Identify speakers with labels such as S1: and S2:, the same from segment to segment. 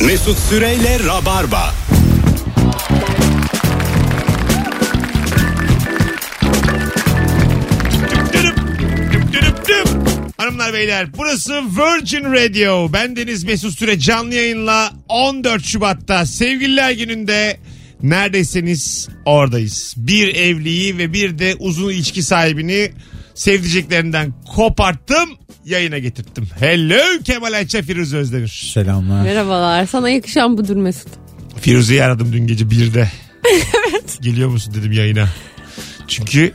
S1: Mesut Süreyle Rabarba.
S2: Dürüp, dürüp, dürüp, dürüp. Hanımlar beyler burası Virgin Radio. Ben Deniz Mesut Süre canlı yayınla 14 Şubat'ta Sevgililer Günü'nde neredeyseniz oradayız. Bir evliyi ve bir de uzun ilişki sahibini sevdiceklerinden koparttım yayına getirttim. Hello Kemal Ayça Firuze Özdemir.
S3: Selamlar.
S4: Merhabalar. Sana yakışan budur Mesut.
S2: Firuze'yi aradım dün gece 1'de. Geliyor musun dedim yayına. Çünkü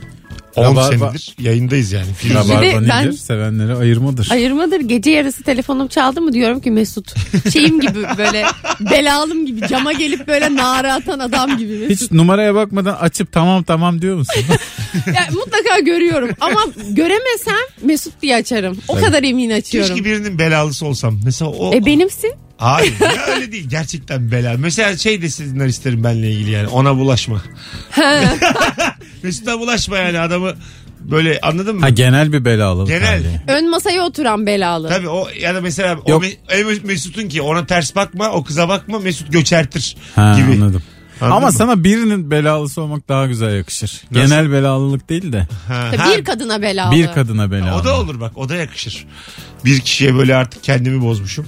S2: 10
S3: Rabarba.
S2: senedir yayındayız yani. Firuze
S3: Rabarba
S4: Bir de
S3: nedir?
S4: ben-
S3: Sevenleri ayırmadır.
S4: Ayırmadır. Gece yarısı telefonum çaldı mı diyorum ki Mesut. Şeyim gibi böyle belalım gibi cama gelip böyle nara atan adam gibi. Mesut.
S3: Hiç numaraya bakmadan açıp tamam tamam diyor musun?
S4: Ya mutlaka görüyorum ama göremesem Mesut diye açarım. O kadar emin açıyorum.
S2: Keşke birinin belalısı olsam. Mesela o...
S4: E benimsin.
S2: Hayır ya öyle değil. Gerçekten bela. Mesela şey desinler isterim benle ilgili yani. Ona bulaşma. Mesut'a bulaşma yani adamı böyle anladın mı?
S3: ha genel bir belalı.
S2: Genel.
S3: tabii.
S4: Ön masaya oturan belalı.
S2: Tabii o ya da mesela o
S3: Yok.
S2: Me- öyle Mes- Mesut'un ki ona ters bakma o kıza bakma Mesut göçertir
S3: Ha,
S2: gibi.
S3: anladım.
S2: Anladın
S3: Ama
S2: mı?
S3: sana birinin belalısı olmak daha güzel yakışır.
S2: Nasıl?
S3: Genel belalılık değil de
S2: Ha,
S4: Tabii
S2: ha,
S4: Bir kadına belalı.
S3: bir kadına belalı.
S2: o da olur bak o da yakışır. Bir kişiye böyle artık kendimi bozmuşum.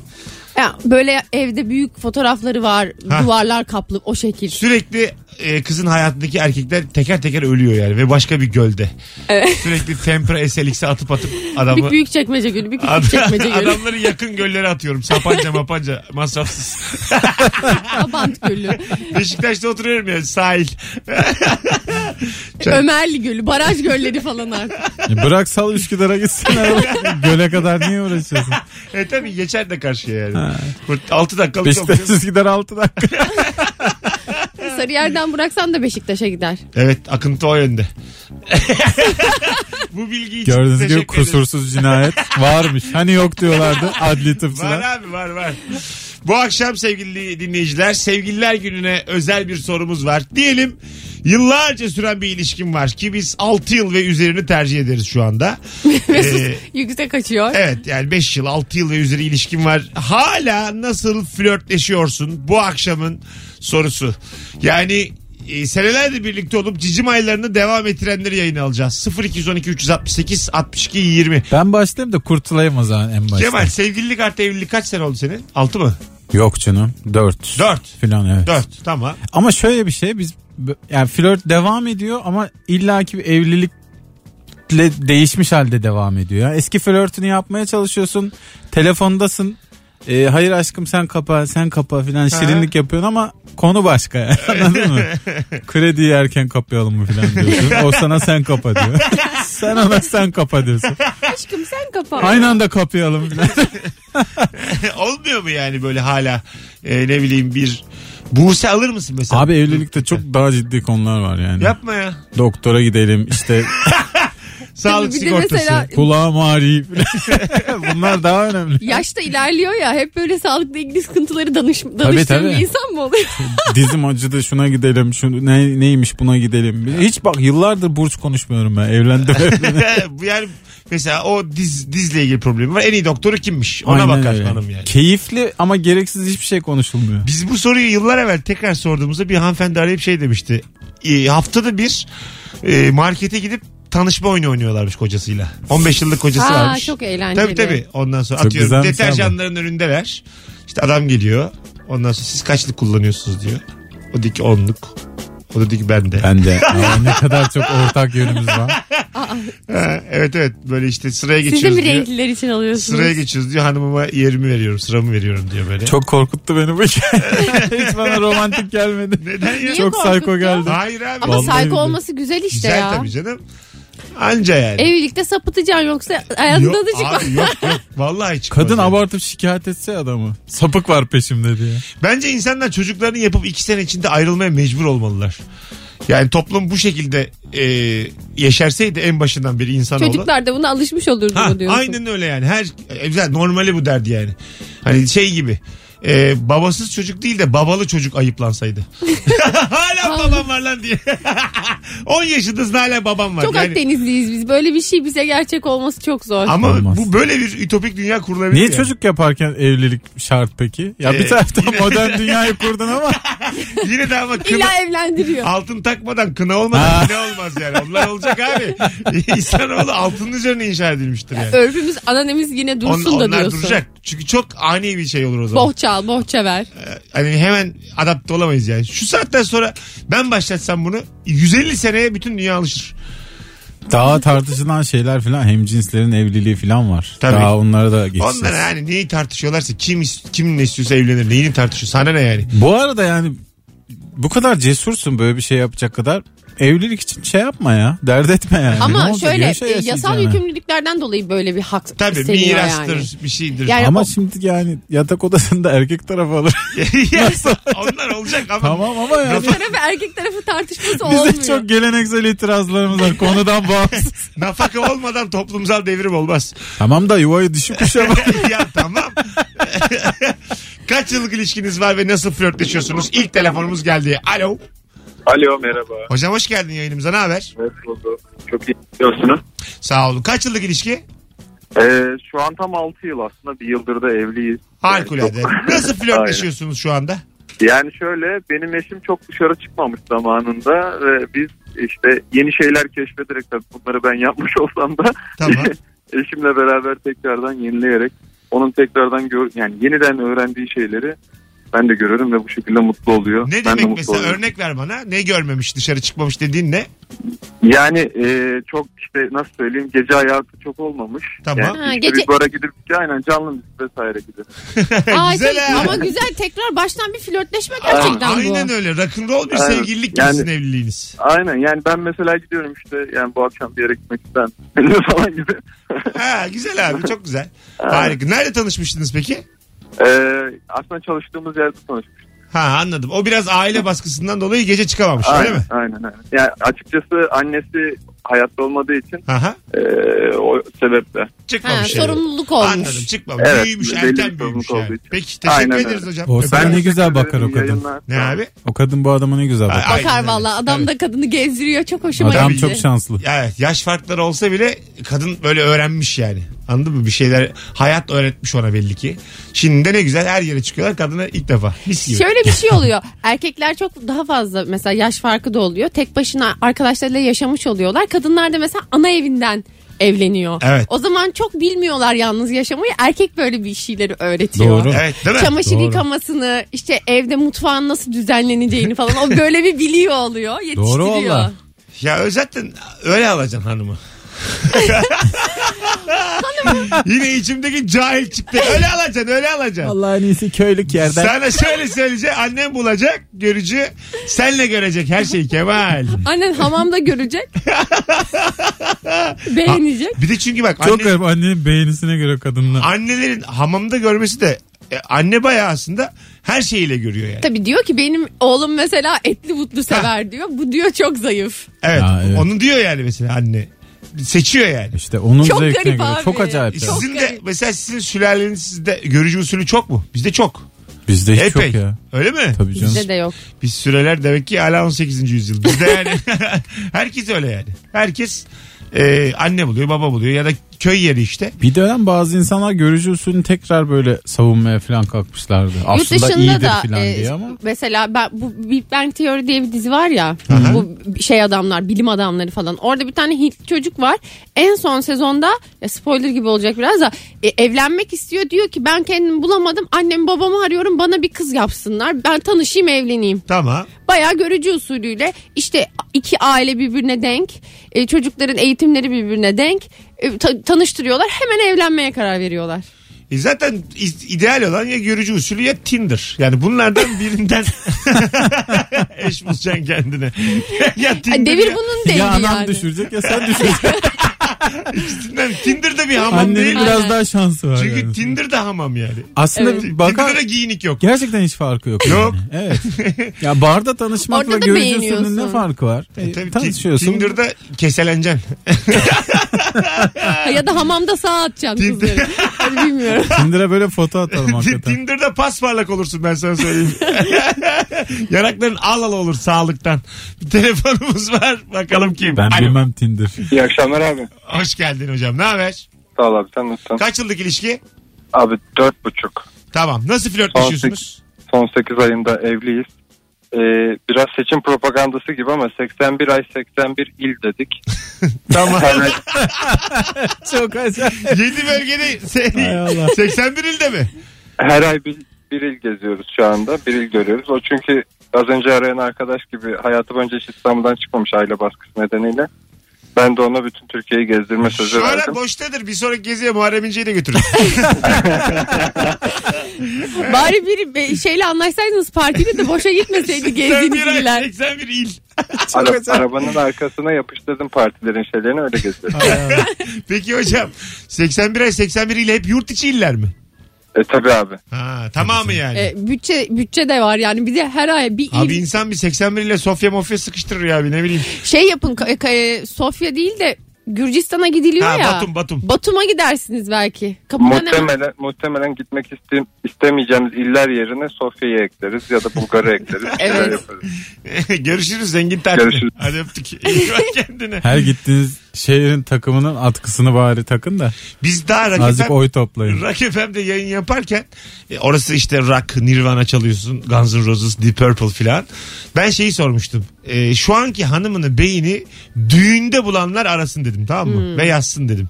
S4: Ya, böyle evde büyük fotoğrafları var.
S2: Ha.
S4: Duvarlar kaplı o şekil.
S2: Sürekli e, kızın hayatındaki erkekler teker teker ölüyor yani ve başka bir gölde. Sürekli Tempra SLX'e atıp atıp adamı
S4: Bir büyük çekmece gülü, bir
S2: Ad-
S4: küçük çekmece gülü,
S2: adamları yakın göllere atıyorum. Sapanca mapanca masrafsız.
S4: Abant gülü,
S2: Beşiktaş'ta oturuyorum ya sahil.
S4: Ömerli gölü, baraj gölleri falan artık.
S3: E, Bırak sal Üsküdar'a gitsin. araba. Göle kadar niye uğraşıyorsun?
S2: E tabii geçer de karşıya yani. 6 dakikalık
S3: Beşiktaş
S2: yol.
S3: Üsküdar 6 dakika.
S4: Sarıyer'den bıraksan da Beşiktaş'a gider.
S2: Evet akıntı o yönde. Bu bilgi için
S3: Gördüğünüz gibi
S2: teşekkür ederim.
S3: kusursuz cinayet varmış. Hani yok diyorlardı adli
S2: Var
S3: tıpçılar.
S2: abi var var. Bu akşam sevgili dinleyiciler sevgililer gününe özel bir sorumuz var. Diyelim yıllarca süren bir ilişkin var ki biz 6 yıl ve üzerini tercih ederiz şu anda. Ee,
S4: Yüksek açıyor.
S2: Evet yani 5 yıl 6 yıl ve üzeri ilişkin var. Hala nasıl flörtleşiyorsun bu akşamın sorusu. Yani e, senelerdir birlikte olup cicim aylarını devam ettirenleri yayına alacağız. 0212 368 62 20.
S3: Ben başlayayım da kurtulayım o zaman en başta.
S2: Cemal sevgililik artı evlilik kaç sene oldu senin? 6 mı?
S3: Yok canım 4.
S2: Dört.
S3: Filan evet.
S2: 4 tamam.
S3: Ama şöyle bir şey biz yani flört devam ediyor ama illaki bir evlilikle değişmiş halde devam ediyor. Yani eski flörtünü yapmaya çalışıyorsun. Telefondasın. Ee, hayır aşkım sen kapa sen kapa filan şirinlik yapıyorsun ama konu başka yani. anladın mı? Krediyi erken kapayalım mı filan diyorsun. O sana sen kapa diyor. sen ona sen kapa diyorsun.
S4: Aşkım sen kapa.
S3: Aynı anda kapayalım filan.
S2: Olmuyor mu yani böyle hala e, ne bileyim bir Buse alır mısın mesela?
S3: Abi evlilikte çok daha ciddi konular var yani.
S2: Yapma ya.
S3: Doktora gidelim işte
S2: Sağlık
S4: bir de
S2: sigortası.
S4: mesela-
S3: kulağım ağrıyor. Bunlar daha önemli.
S4: Yaşta ilerliyor ya hep böyle sağlıkla ilgili sıkıntıları danış, danıştığın
S3: tabii.
S4: bir insan mı oluyor?
S3: Dizim acıdı şuna gidelim. Şu ne, neymiş buna gidelim. Hiç bak yıllardır burç konuşmuyorum ben. Evlendim.
S2: Bu yani mesela o diz dizle ilgili problemi var. En iyi doktoru kimmiş? Ona
S3: Aynen
S2: bakar
S3: öyle.
S2: hanım yani.
S3: Keyifli ama gereksiz hiçbir şey konuşulmuyor.
S2: Biz bu soruyu yıllar evvel tekrar sorduğumuzda bir hanımefendi arayıp şey demişti. E, haftada bir e, markete gidip tanışma oyunu oynuyorlarmış kocasıyla. 15 yıllık kocası
S4: Ha,
S2: varmış.
S4: çok eğlenceli.
S2: Tabii tabii. Ondan sonra
S3: Çok
S2: atıyorum
S3: güzelmiş abi.
S2: deterjanların önündeler. İşte adam geliyor. Ondan sonra siz kaçlık kullanıyorsunuz diyor. O diyor ki onluk. O da diyor ki ben de.
S3: Ben de. Aa, ne kadar çok ortak yönümüz var.
S2: Ha, evet evet böyle işte sıraya
S4: Siz de
S2: geçiyoruz
S4: mi
S2: diyor.
S4: renkliler için alıyorsunuz?
S2: Sıraya geçiyoruz diyor hanımıma yerimi veriyorum sıramı veriyorum diyor böyle.
S3: Çok korkuttu beni bu hikaye. Hiç bana romantik gelmedi.
S2: Neden ya?
S4: Niye
S3: Çok
S4: korkuttu?
S3: psycho geldi.
S2: Hayır abi.
S4: Ama
S3: Vallahi
S4: saygı
S3: billahi.
S4: olması güzel işte
S2: Güzel
S4: ya.
S2: tabii canım. Anca yani.
S4: Evlilikte sapıtacaksın yoksa ayağında da çıkmaz.
S2: abi, yok yok. Vallahi çıkmaz.
S3: Kadın
S2: yani.
S3: abartıp şikayet etse adamı. Sapık var peşimde diye.
S2: Bence insanlar çocuklarını yapıp iki sene içinde ayrılmaya mecbur olmalılar. Yani toplum bu şekilde e, yaşarsaydı en başından beri insanoğlu.
S4: Çocuklar da buna alışmış olurdu
S2: Ha,
S4: mu diyorsun?
S2: aynen öyle yani. Her e, güzel normali bu derdi yani. Hani şey gibi. e, babasız çocuk değil de babalı çocuk ayıplansaydı. hala babam var lan diye. 10 yaşındasın hala babam var.
S4: Çok
S2: Yani-
S4: Akdenizliyiz biz. Böyle bir şey bize gerçek olması çok zor.
S2: ama
S3: Olmaz.
S2: bu böyle bir ütopik dünya kurulabilir.
S3: Niye
S2: yani.
S3: çocuk yaparken evlilik şart peki? Ya
S2: Ee,
S3: bir taraftan modern dünyayı kurdun ama
S2: Yine de ama kına,
S4: İlla evlendiriyor.
S2: altın takmadan kına olmadan ne olmaz yani. Onlar olacak abi. İnsanoğlu altının üzerine inşa edilmiştir yani.
S4: Örfümüz, ananemiz yine dursun
S2: On-
S4: da
S2: onlar
S4: diyorsun.
S2: duracak. Çünkü çok ani bir şey olur o zaman.
S4: Bohça al, bohça ver.
S2: Hani hemen adapte olamayız yani. Şu saatten sonra ben başlatsam bunu 150 seneye bütün dünya alışır.
S3: daha tartışılan şeyler filan hem cinslerin evliliği filan var.
S2: Tabii.
S3: Daha onlara da geçeceğiz.
S2: Onlar yani neyi tartışıyorlarsa kim is- kim ne istiyorsa evlenir. Neyini tartışıyor? Sana ne yani?
S3: Bu arada yani bu kadar cesursun böyle bir şey yapacak kadar. Evlilik için şey yapma ya. Dert etme yani. Ne
S4: Ama
S3: olacak?
S4: şöyle
S3: Yaşa
S4: e, yasal
S3: yaşayacağını.
S4: yükümlülüklerden dolayı böyle bir hak
S2: Tabii
S4: isteniyor
S2: mirastır
S4: yani.
S2: bir şeydir.
S4: Yani
S3: Ama
S4: o-
S3: şimdi yani yatak odasında erkek tarafı alır.
S2: Ya, Onlar olacak ama.
S3: tamam ama yani.
S4: Kız tarafı erkek tarafı tartışması olmuyor.
S3: Bize çok geleneksel itirazlarımız var konudan bağımsız.
S2: Nafaka olmadan toplumsal devrim olmaz.
S3: tamam da yuvayı düşüp şey kuşa bak.
S2: ya tamam. Kaç yıllık ilişkiniz var ve nasıl flörtleşiyorsunuz? İlk telefonumuz geldi. Alo.
S5: Alo merhaba.
S2: Hocam hoş geldin yayınımıza. Ne haber?
S5: Nasıl oldu? Çok iyi biliyorsunuz.
S2: Sağ olun. Kaç yıllık ilişki?
S5: Ee, şu an tam 6 yıl aslında bir yıldır da evliyiz.
S2: Harikulade.
S5: Yani, çok-
S2: Nasıl flörtleşiyorsunuz şu anda?
S5: Aynen. Yani şöyle benim eşim çok dışarı çıkmamış zamanında ve biz işte yeni şeyler keşfederek tabii bunları ben yapmış olsam da
S2: Tamam.
S5: eşimle beraber tekrardan yenileyerek onun tekrardan gör yani yeniden öğrendiği şeyleri ben de görüyorum ve bu şekilde mutlu oluyor.
S2: Ne
S5: ben de
S2: demek
S5: mutlu
S2: mesela?
S5: oluyorum.
S2: Örnek ver bana. Ne görmemiş dışarı çıkmamış dediğin ne?
S5: Yani e, çok işte nasıl söyleyeyim gece hayatı çok olmamış.
S2: Tamam.
S5: Yani
S4: Ha,
S5: işte
S4: gece-
S5: bir bara gidip aynen canlı müzik vesaire gidip.
S4: Aa,
S2: Güzel
S4: şey,
S2: ha.
S4: Ama güzel tekrar baştan bir flörtleşme gerçekten bu.
S2: Aynen öyle. Rock'n'roll bir
S5: Aynen.
S2: sevgililik
S5: Yani-
S2: sizin evliliğiniz.
S5: Aynen yani ben mesela gidiyorum işte yani bu akşam bir yere gitmek ister misin? falan gibi.
S2: Ha, güzel abi çok güzel.
S5: Aynen.
S2: Harika. Nerede tanışmıştınız peki?
S5: Ee, aslında çalıştığımız yerde tanışmıştık.
S2: Ha anladım. O biraz aile baskısından dolayı gece çıkamamış öyle
S5: Aynen,
S2: mi?
S5: aynen aynen. Yani açıkçası annesi hayatta olmadığı için
S2: Aha.
S5: ee, o sebeple.
S4: Ha,
S2: Çıkmamış. yani.
S4: sorumluluk olmuş.
S2: şey Anladım çıkmamış.
S5: Evet,
S2: büyümüş
S5: belli bir
S2: erken
S5: sorumluluk
S2: büyümüş
S5: olduğu
S2: yani.
S5: için.
S2: Peki teşekkür
S5: Aynen
S2: ederiz
S5: öyle.
S2: hocam.
S3: O sen ne
S2: Öpüyoruz.
S3: güzel bakar o
S5: İyi
S3: kadın.
S5: yayınlar.
S2: Ne abi?
S3: O kadın bu adama ne güzel bakar.
S2: Aynen
S4: Bakar
S2: öyle.
S4: valla adam da kadını gezdiriyor çok hoşuma
S3: Adam
S4: gitti.
S3: çok şanslı.
S2: Evet yaş farkları olsa bile kadın böyle öğrenmiş yani. Anladın mı? Bir şeyler hayat öğretmiş ona belli ki. Şimdi de ne güzel her yere çıkıyorlar kadına ilk defa. Mis gibi.
S4: Şöyle bir şey oluyor. Erkekler çok daha fazla mesela yaş farkı da oluyor. Tek başına arkadaşlarıyla yaşamış oluyorlar. Kadınlar da mesela ana evinden evleniyor.
S2: Evet.
S4: O zaman çok bilmiyorlar yalnız yaşamayı. Erkek böyle bir şeyleri öğretiyor.
S3: Doğru.
S2: Evet değil mi?
S4: Çamaşır
S3: Doğru.
S4: yıkamasını, işte evde mutfağın nasıl düzenleneceğini falan o böyle bir biliyor oluyor, yetiştiriyor.
S3: Doğru valla.
S2: Ya zaten öyle alacaksın hanımı. Yine içimdeki cahil çıktı. Öyle alacaksın öyle alacaksın.
S3: Allah en iyisi köylük yerden.
S2: Sana şöyle söyleyecek annem bulacak görücü senle görecek her şeyi Kemal.
S4: Annen hamamda görecek. Beğenecek.
S2: Bir de çünkü bak
S3: Çok
S2: anne,
S3: garip annenin beğenisine göre kadınla.
S2: annelerin hamamda görmesi de e, anne bayağı aslında her şeyiyle görüyor yani.
S4: Tabii diyor ki benim oğlum mesela etli butlu sever diyor. Bu diyor çok zayıf.
S2: Evet,
S3: Ha, evet.
S2: Onu diyor yani mesela anne. Seçiyor yani. E,
S3: İşte onun
S4: Çok
S3: zevkine
S4: garip
S3: göre.
S4: abi.
S3: Çok acayip. ya.
S4: Çok
S2: Sizin de
S4: garip.
S2: mesela sizin sülaleniz sizde görücü usulü çok mu? Bizde çok.
S3: Bizde hiç
S2: Epey.
S3: yok ya.
S2: Öyle mi?
S3: Tabii canım.
S4: Bizde de yok.
S2: Biz süreler demek ki hala 18. yüzyıl. Bizde yani herkes öyle yani. Herkes e, anne buluyor, baba buluyor ya da köy yeri işte.
S3: Bir dönem bazı insanlar görücü usulünü tekrar böyle savunmaya falan kalkmışlardı. Aslında iyidir falan
S4: e,
S3: diye ama.
S4: mesela ben, bu Big Bang Theory diye bir dizi var ya bu şey adamlar bilim adamları falan orada bir tane Hintli çocuk var en son sezonda ya spoiler gibi olacak biraz da e, evlenmek istiyor diyor ki ben kendimi bulamadım annem babamı arıyorum bana bir kız yapsınlar ben tanışayım evleneyim
S2: Tamam.
S4: bayağı görücü usulüyle işte iki aile birbirine denk e, çocukların eğitimleri birbirine denk e, ta- tanıştırıyorlar hemen evlenmeye karar veriyorlar.
S2: E zaten i- ideal olan ya görücü usulü ya Tinder. Yani bunlardan birinden eş bulacaksın kendine. ya
S4: Ay,
S2: Tinder
S4: Devir bunun değil
S3: Ya anam
S4: yani.
S3: düşürecek ya sen düşüreceksin.
S2: Tinder'da- Tinder'da bir hamam değil.
S3: Annenin biraz
S4: Aynen.
S3: daha şansı var.
S2: Çünkü
S3: yani.
S2: Tinder'da hamam yani.
S3: Aslında
S4: Evet.
S3: bir bakar
S2: Tinder'da giyinik yok.
S3: gerçekten hiç farkı yok.
S2: Yok.
S3: yani. Evet. Ya barda tanışmakla
S4: Orada da
S3: görücü usulünün
S4: beğeniyorsun.
S3: ne farkı var? E,
S2: Tabii ti-
S3: tanışıyorsun.
S2: Tinder'da keseleneceksin.
S4: Ha, ya da hamamda sağ atacaksın
S2: Tinder-
S4: kızları. Hadi bilmiyorum.
S3: Tinder'a böyle foto atalım hakikaten.
S2: Tinder'da pasparlak olursun ben sana söyleyeyim. Yanakların al al olur sağlıktan. Bir telefonumuz var. Bakalım kim?
S3: Ben
S2: Alo.
S3: bilmem Tinder.
S5: İyi akşamlar abi.
S2: Hoş geldin hocam. Ne haber?
S5: Sağ ol abi sen nasılsın?
S2: Kaç yıllık ilişki?
S5: Abi dört buçuk.
S2: Tamam. Nasıl flörtleşiyorsunuz?
S5: Son 8 ayında evliyiz. Ee, biraz seçim propagandası gibi ama 81 ay 81 il dedik.
S2: Tamam.
S5: Yani
S3: Çok acayip.
S2: 7 bölgede
S3: Hay Allah.
S2: se- 81 ilde mi?
S5: her ay bir, bir il geziyoruz şu anda. Bir il görüyoruz. O çünkü az önce arayan arkadaş gibi hayatı boyunca hiç İstanbul'dan çıkmamış aile baskısı nedeniyle. Ben de ona bütün Türkiye'yi gezdirme sözü
S2: Şu ara
S5: verdim.
S2: boştadır. Bir sonraki geziye Muharrem İnce'yi de götürün.
S4: Bari bir be- şeyle anlaşsaydınız partiyle de boşa gitmeseydi gezdiğiniz
S2: 81 ay
S4: iller.
S2: 81 il.
S5: Ara- arabanın arkasına yapıştırdım partilerin şeylerini öyle geziyorum.
S2: Peki hocam 81 ay 81 ile hep yurt içi iller mi?
S5: e tabi abi.
S2: Ha, tamamı yani.
S4: E, bütçe bütçe de var yani bir de her ay bir il-
S2: Abi insan bir 81 ile Sofya Mofya sıkıştırır ya abi ne bileyim.
S4: şey yapın ka- ka- Sofya değil de Gürcistan'a gidiliyor
S2: Ha,
S4: ya.
S2: Batum, Batum.
S4: Batum'a gidersiniz belki. Kapıdan hemen.
S5: Muhtemelen, muhtemelen gitmek iste- istemeyeceğimiz iller yerine Sofya'yı ekleriz ya da Bulgar'ı ekleriz.
S4: Evet.
S5: Şeyler yaparız.
S2: Görüşürüz zengin tatil.
S5: Görüşürüz.
S2: Hadi öptük. İyi bak kendine.
S3: Her gittiğiniz şehrin takımının atkısını bari takın da
S2: Biz daha
S3: azıcık
S2: rakip
S3: oy toplayın.
S2: Rock FM'de yayın yaparken e, orası işte rock, Nirvana çalıyorsun, Guns N' Roses, Deep Purple filan. Ben şeyi sormuştum. E, şu anki hanımını, beyini düğünde bulanlar arasın dedim tamam mı? Ve yazsın dedim.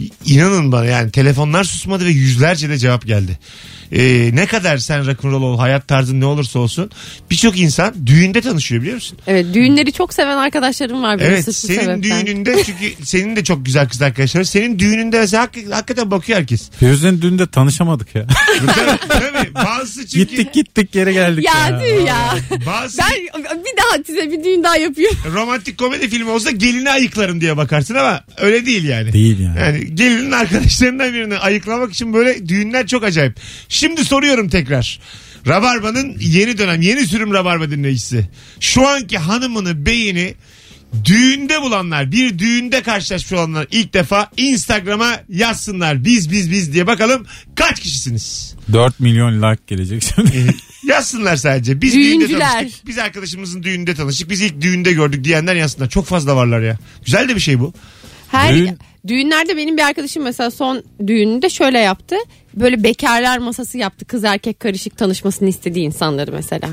S2: İ- İnanın bana yani telefonlar susmadı ve yüzlerce de cevap geldi. E, ne kadar sen rock'n'roll ol, hayat tarzın ne olursa olsun birçok insan düğünde tanışıyor biliyor musun?
S4: Evet düğünleri çok seven arkadaşlarım var benim
S2: Evet
S4: sırf bu
S2: senin
S4: sebepten.
S2: düğününde çünkü senin de çok güzel kız arkadaşların. Senin düğününde mesela hak- hakikaten bakıyor herkes.
S3: Firuze'nin dün de tanışamadık ya.
S2: Tabii, tabii. Bazısı çünkü...
S3: gittik gittik geri geldik ya.
S4: Ya düğün ya.
S2: Bazısı
S4: Ben bir daha size bir düğün daha yapıyorum.
S2: romantik komedi filmi olsa gelini ayıklarım diye bakarsın ama öyle değil yani.
S3: Değil yani.
S2: Yani gelinin arkadaşlarından birini ayıklamak için böyle düğünler çok acayip. Şimdi soruyorum tekrar. Rabarba'nın yeni dönem, yeni sürüm Rabarba dinleyicisi. Şu anki hanımını, beyini düğünde bulanlar, bir düğünde karşılaşmış olanlar ilk defa Instagram'a yazsınlar. Biz biz biz diye bakalım kaç kişisiniz?
S3: 4 milyon like gelecek şimdi.
S2: Yazsınlar sadece. Biz düğünde
S4: Düğüncüler.
S2: tanıştık. Biz arkadaşımızın düğünde tanıştık. Biz ilk düğünde gördük diyenler yazsınlar. Çok fazla varlar ya. Güzel de bir şey bu.
S4: Her
S3: Düğün-
S4: düğünlerde benim bir arkadaşım mesela son düğününde şöyle yaptı. Böyle bekarlar masası yaptı. Kız erkek karışık tanışmasını istediği insanları mesela.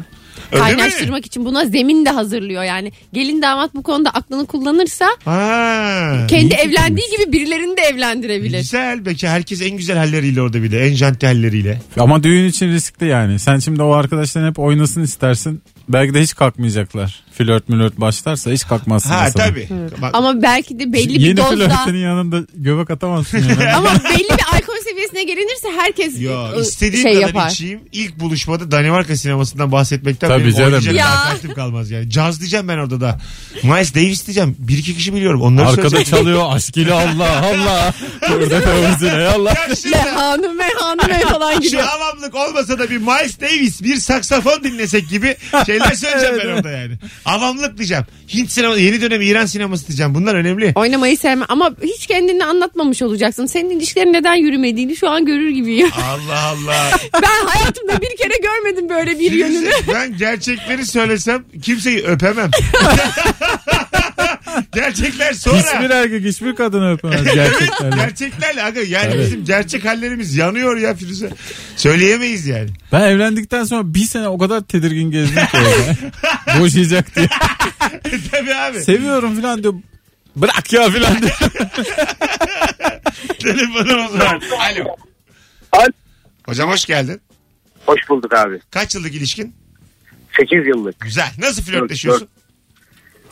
S2: Öyle mi?
S4: Kaynaştırmak için buna zemin de hazırlıyor yani. Gelin damat bu konuda aklını kullanırsa
S2: Ha.
S4: kendi
S3: iyi
S4: evlendiği gibi birilerini de evlendirebilir.
S2: Güzel belki herkes en güzel halleriyle orada bir de en janti halleriyle.
S3: Ama düğün için riskli yani. Sen şimdi o arkadaşların hep oynasın istersin. Belki de hiç kalkmayacaklar. Flört mülört başlarsa hiç kalkmazsın.
S2: Ha
S3: mesela.
S2: tabii. Bak,
S4: Ama belki de belli bir
S3: Yeni
S4: dozda
S3: flörtünün yanında göbek atamazsın yani.
S4: ama belli bir alkol seviyesine gelinirse herkes
S2: Yo,
S4: ı,
S2: istediğim
S4: şey
S2: kadar
S4: yapar.
S2: içeyim. İlk buluşmada Danimarka sinemasından bahsetmekten
S3: Tabii
S2: benim
S3: canım.
S2: oynayacak
S4: Ya.
S2: takatim kalmaz yani. Caz diyeceğim ben orada da. Miles Davis diyeceğim. Bir iki kişi biliyorum. Onları
S3: Arkada
S2: söyleyeceğim.
S3: çalıyor aşk ile Allah Allah. Burada kavuzun ey Allah.
S2: Ya şimdi-
S4: Hanım ve hanım ve falan
S2: Şu
S4: gidiyor.
S2: havamlık olmasa da bir Miles Davis bir saksafon dinlesek gibi şeyler söyleyeceğim ben orada yani. Avamlık diyeceğim. Hint sineması, yeni dönem İran sineması diyeceğim. Bunlar önemli.
S4: Oynamayı sevme ama hiç kendini anlatmamış olacaksın. Senin ilişkilerin neden yürümediğini şu an görür gibiyim.
S2: Allah Allah.
S4: ben hayatımda bir kere görmedim böyle bir yönünü.
S2: ben gerçekleri söylesem kimseyi öpemem. Gerçekler
S3: Hiçbir
S2: sonra.
S3: erkek hiçbir kadını öpemez gerçekten.
S2: Gerçeklerle aga yani
S3: Tabii.
S2: bizim gerçek hallerimiz yanıyor ya Firuze. Söyleyemeyiz yani.
S3: Ben evlendikten sonra bir sene o kadar tedirgin gezdim ki evde. Boşayacak diye.
S2: Tabii abi.
S3: Seviyorum filan diyor. Bırak ya filan diyor.
S2: Telefonumuz var. Alo.
S6: Al.
S2: Hocam hoş geldin.
S6: Hoş bulduk abi.
S2: Kaç yıllık ilişkin?
S6: 8 yıllık.
S2: Güzel. Nasıl flörtleşiyorsun?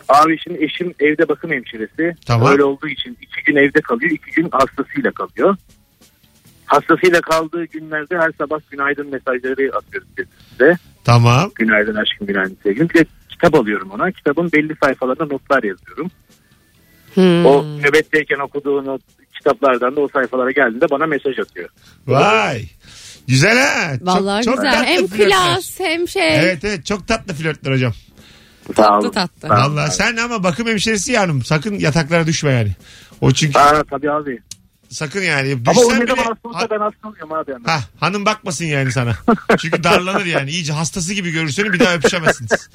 S6: Abi şimdi eşim evde bakım hemşiresi.
S2: Tamam.
S6: Öyle olduğu için 2 gün evde kalıyor, 2 gün hastasıyla kalıyor. Hastasıyla kaldığı günlerde her sabah günaydın mesajları atıyoruz birbirimize.
S2: Tamam.
S6: Günaydın aşkım, günaydın sevgilim. Bir de kitap alıyorum ona. Kitabın belli sayfalarına notlar yazıyorum.
S4: Hmm.
S6: O nöbetteyken okuduğu not, kitaplardan da o sayfalara geldiğinde bana mesaj atıyor.
S2: Vay. Güzel ha. Çok-
S4: Vallahi
S2: çok
S4: güzel.
S2: tatlı
S4: Hem
S2: flörtler.
S4: klas hem şey.
S2: Evet evet çok tatlı flörtler hocam.
S6: Sağ
S4: Tatlı
S6: olun.
S4: tatlı.
S6: Sağ olun.
S2: Vallahi sen ama bakım hemşiresi yarım. Sakın yataklara düşme yani. O çünkü
S6: Aa tabii abi.
S2: sakın yani.
S6: Ama o
S2: düşsen
S6: ne
S2: bile-
S6: zaman
S2: Ha-
S6: hastalıksa ben hastalıyorum abi. Yani.
S2: Ha, hanım bakmasın yani sana. Çünkü darlanır yani. İyice hastası gibi görürsün bir daha öpüşemezsiniz.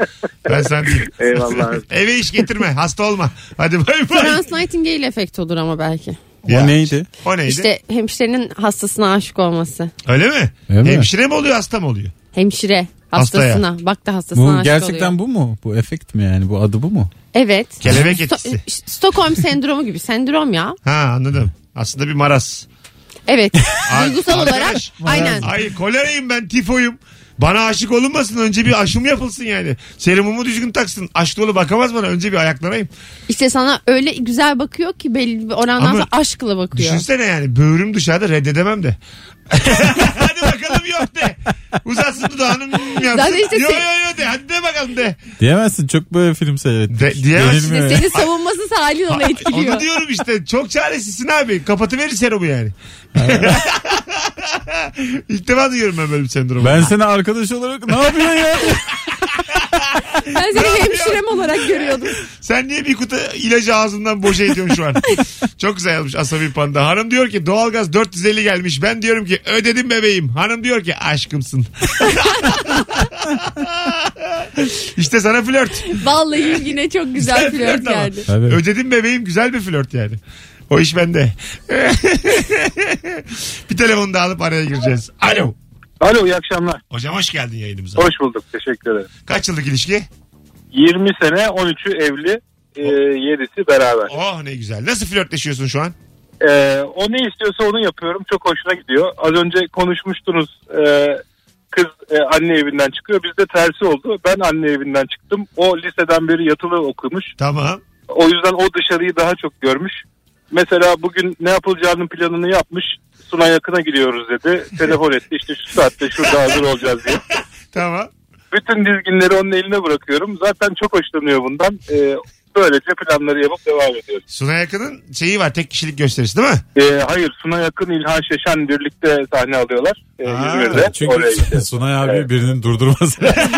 S2: Ben sen diyeyim.
S6: Eyvallah abi.
S2: Eve iş getirme. Hasta olma. Hadi bay bay.
S4: Florence Nightingale efekt olur ama belki.
S2: Ya,
S3: O neydi?
S2: O neydi?
S4: İşte hemşirenin hastasına aşık olması.
S2: Öyle mi?
S3: Öyle mi?
S2: Hemşire mi oluyor hasta mı oluyor?
S4: Hemşire
S2: Hastaya.
S4: hastasına. Bak da hastasına
S3: Bu
S4: aşık
S3: gerçekten
S4: oluyor.
S3: bu mu? Bu efekt mi yani? Bu adı bu mu?
S4: Evet.
S2: Kelebek
S4: Sto-
S2: etkisi.
S4: Ş- Stockholm sendromu gibi sendrom ya.
S2: Ha anladım. Aslında bir maraz.
S4: Evet.
S2: Ay-
S4: Duygusal olarak
S2: arkadaş,
S4: aynen.
S2: Ay kolerayım ben tifoyum. Bana aşık olunmasın önce bir aşım yapılsın yani. Serumumu düzgün taksın. Aşk dolu bakamaz bana önce bir ayaklanayım.
S4: İşte sana öyle güzel bakıyor ki belli bir orandan
S2: Ama
S4: sonra aşkla bakıyor.
S2: Düşünsene yani böğrüm dışarıda reddedemem de. Hadi bakalım yok de. Uzatsın dudağını yapsın.
S4: Zaten işte
S2: yo
S4: se-
S2: yo yo de. Hadi de bakalım de.
S3: Diyemezsin çok böyle film seyrettim.
S2: De- diyemezsin.
S4: İşte senin savunmasız halin onu etkiliyor.
S2: Onu diyorum işte. Çok çaresizsin abi. Kapatıverir serumu yani. İlk defa duyuyorum ben böyle bir sendromu.
S3: Ben seni arkadaş olarak ne yapıyorsun ya?
S4: ben seni hemşirem olarak görüyordum.
S2: Sen niye bir kutu ilacı ağzından boşa ediyorsun şu an? Çok güzel yazmış Asabi Panda. Hanım diyor ki doğalgaz 450 gelmiş. Ben diyorum ki ödedim bebeğim. Hanım diyor ki aşkımsın. işte sana flört.
S4: Vallahi yine çok güzel flört
S2: ama.
S4: geldi.
S3: Tabii.
S2: Ödedim bebeğim güzel bir flört yani. O iş bende. bir telefonu da alıp araya gireceğiz. Alo.
S5: Alo iyi akşamlar.
S2: Hocam hoş geldin yayınımıza.
S5: Hoş bulduk teşekkür ederim.
S2: Kaç yıllık ilişki?
S5: 20 sene 13'ü evli. E, 7'si beraber.
S2: Oh ne güzel. Nasıl flörtleşiyorsun şu an?
S5: Ee, o ne istiyorsa onu yapıyorum. Çok hoşuna gidiyor. Az önce konuşmuştunuz. Ee, kız e, anne evinden çıkıyor. Bizde tersi oldu. Ben anne evinden çıktım. O liseden beri yatılı okumuş.
S2: Tamam.
S5: O yüzden o dışarıyı daha çok görmüş. Mesela bugün ne yapılacağının planını yapmış. Suna yakına gidiyoruz dedi. Telefon etti işte şu saatte şurada hazır olacağız diye.
S2: Tamam.
S5: Bütün dizginleri onun eline bırakıyorum. Zaten çok hoşlanıyor bundan. Ee, böylece planları yapıp devam ediyoruz.
S2: Suna Yakın'ın şeyi var tek kişilik gösterisi değil mi?
S5: Ee, hayır Suna yakın İlhan Şeşen birlikte sahne alıyorlar. Ee,
S2: Aa,
S5: İzmir'de. Oraya
S3: Çünkü
S5: gidiyoruz.
S3: Sunay abi birinin durdurması. lazım.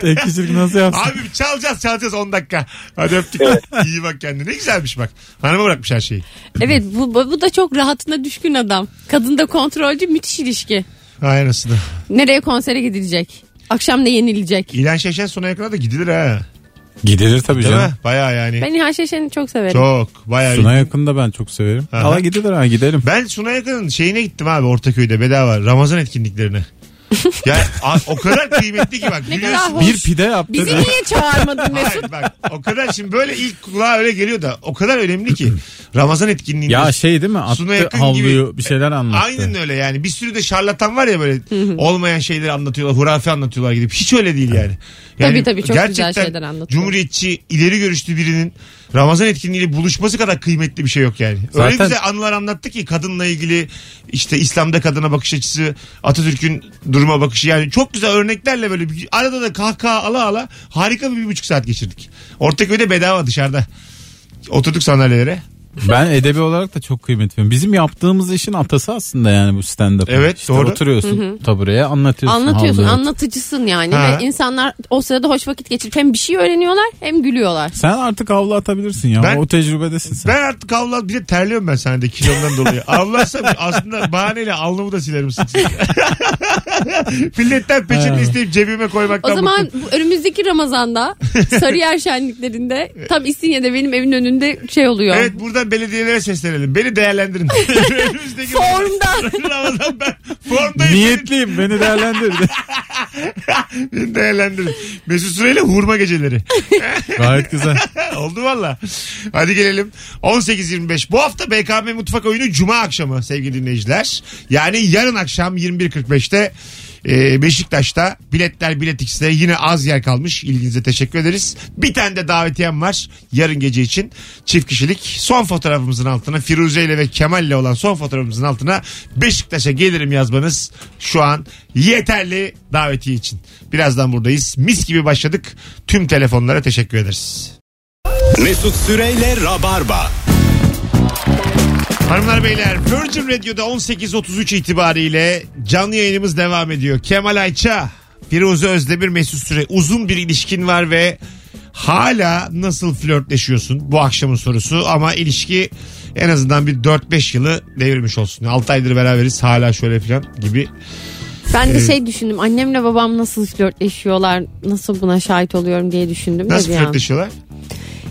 S3: Tek kişilik nasıl yapsın?
S2: Abi çalacağız çalacağız 10 dakika. Hadi öptük. İyi bak kendine. Ne güzelmiş bak. Hanıma bırakmış her şeyi.
S4: Evet bu, bu bu da çok rahatına düşkün adam. Kadın da kontrolcü müthiş ilişki.
S2: Vay anasını.
S4: Nereye konsere gidilecek? Akşam ne yenilecek?
S2: İlan Şeşen Suna Yakın'a da gidilir ha.
S3: Gidilir tabii
S2: Değil mi?
S3: canım.
S2: Baya yani.
S4: Ben İlhan Şeşen'i çok severim.
S2: Çok. Baya.
S3: Sunay yakını da ben çok severim.
S2: Aha.
S3: Hala gidilir ha gidelim.
S2: Ben Suna Yakın'ın şeyine gittim abi Ortaköy'de bedava. Ramazan etkinliklerine. ya a- o kadar kıymetli ki bak.
S4: Ne kadar
S2: biliyorsun.
S4: hoş.
S3: Bir pide yaptı.
S4: Bizi
S3: da.
S4: niye çağırmadın Mesut?
S2: Hayır bak o kadar şimdi böyle ilk kulağa öyle geliyor da o kadar önemli ki. Ramazan etkinliğinde.
S3: Ya şey değil mi?
S2: Sunay
S3: Attı
S2: Akın
S3: havluyu
S2: gibi-
S3: bir şeyler anlattı.
S2: Aynen öyle yani. Bir sürü de şarlatan var ya böyle olmayan şeyleri anlatıyorlar, hurafe anlatıyorlar gidip. Hiç öyle değil yani. yani
S4: Tabii tabii, çok güzel
S2: gerçekten
S4: şeyler anlatıyor.
S2: Cumhuriyetçi, ileri görüşlü birinin Ramazan etkinliğiyle buluşması kadar kıymetli bir şey yok yani. Öyle
S3: Zaten-
S2: güzel anılar anlattı ki kadınla ilgili işte İslam'da kadına bakış açısı, Atatürk'ün duruma bakışı yani çok güzel örneklerle böyle bir- arada da kahkaha ala ala harika bir, bir buçuk saat geçirdik. Ortaköy'de bedava dışarıda. Oturduk sandalyelere.
S3: Ben edebi olarak da çok kıymet veriyorum. Bizim yaptığımız işin atası aslında yani bu stand up.
S2: Evet,
S3: işte
S2: doğru.
S3: Oturuyorsun tabureye anlatıyorsun.
S4: Anlatıyorsun,
S3: havluyu.
S4: anlatıcısın yani.
S2: Ha.
S4: Ve insanlar o sırada hoş vakit geçirip hem bir şey öğreniyorlar hem gülüyorlar.
S3: Sen artık havlu atabilirsin ya.
S2: Ben-
S3: o tecrübedesin sen.
S2: Ben artık avlan bir de terliyorum ben sahnede kilomdan dolayı. Avlarsam aslında bahaneyle alnımı da silerim sık sık. Milletten peşini
S3: Ha.
S2: isteyip cebime koymaktan
S4: O zaman
S2: bıktım.
S4: bu önümüzdeki Ramazan'da Sarıyer şenliklerinde tam İstinye'de benim evin önünde şey oluyor.
S2: Evet buradan belediyelere seslenelim. Beni değerlendirin. Önümüzdeki
S4: Formda.
S2: Ramazan ben formdayım.
S3: Niyetliyim beni değerlendir.
S2: Beni değerlendirin. Mesut Süreyle hurma geceleri.
S3: Gayet güzel.
S2: Oldu valla. Hadi gelelim. 18.25. Bu hafta BKM Mutfak Oyunu Cuma akşamı sevgili dinleyiciler. Yani yarın akşam 21.45'te e, Beşiktaş'ta biletler bilet X'te yine az yer kalmış. İlginize teşekkür ederiz. Bir tane de davetiyem var yarın gece için. Çift kişilik son fotoğrafımızın altına Firuze ile ve Kemal ile olan son fotoğrafımızın altına Beşiktaş'a gelirim yazmanız şu an yeterli davetiye için. Birazdan buradayız. Mis gibi başladık. Tüm telefonlara teşekkür ederiz.
S1: Mesut Süreyle Rabarba.
S2: Hanımlar beyler Virgin Radio'da 18.33 itibariyle canlı yayınımız devam ediyor. Kemal Ayça, Firuze Özdemir, Mesut Süre. Uzun bir ilişkin var ve Hala nasıl flörtleşiyorsun bu akşamın sorusu ama ilişki en azından bir 4-5 yılı devirmiş olsun. 6 aydır beraberiz hala şöyle filan gibi.
S4: Ben de
S2: Ee,
S4: şey düşündüm annemle babam nasıl flörtleşiyorlar nasıl buna şahit oluyorum diye düşündüm. de
S2: Nasıl
S4: bir an.
S2: flörtleşiyorlar?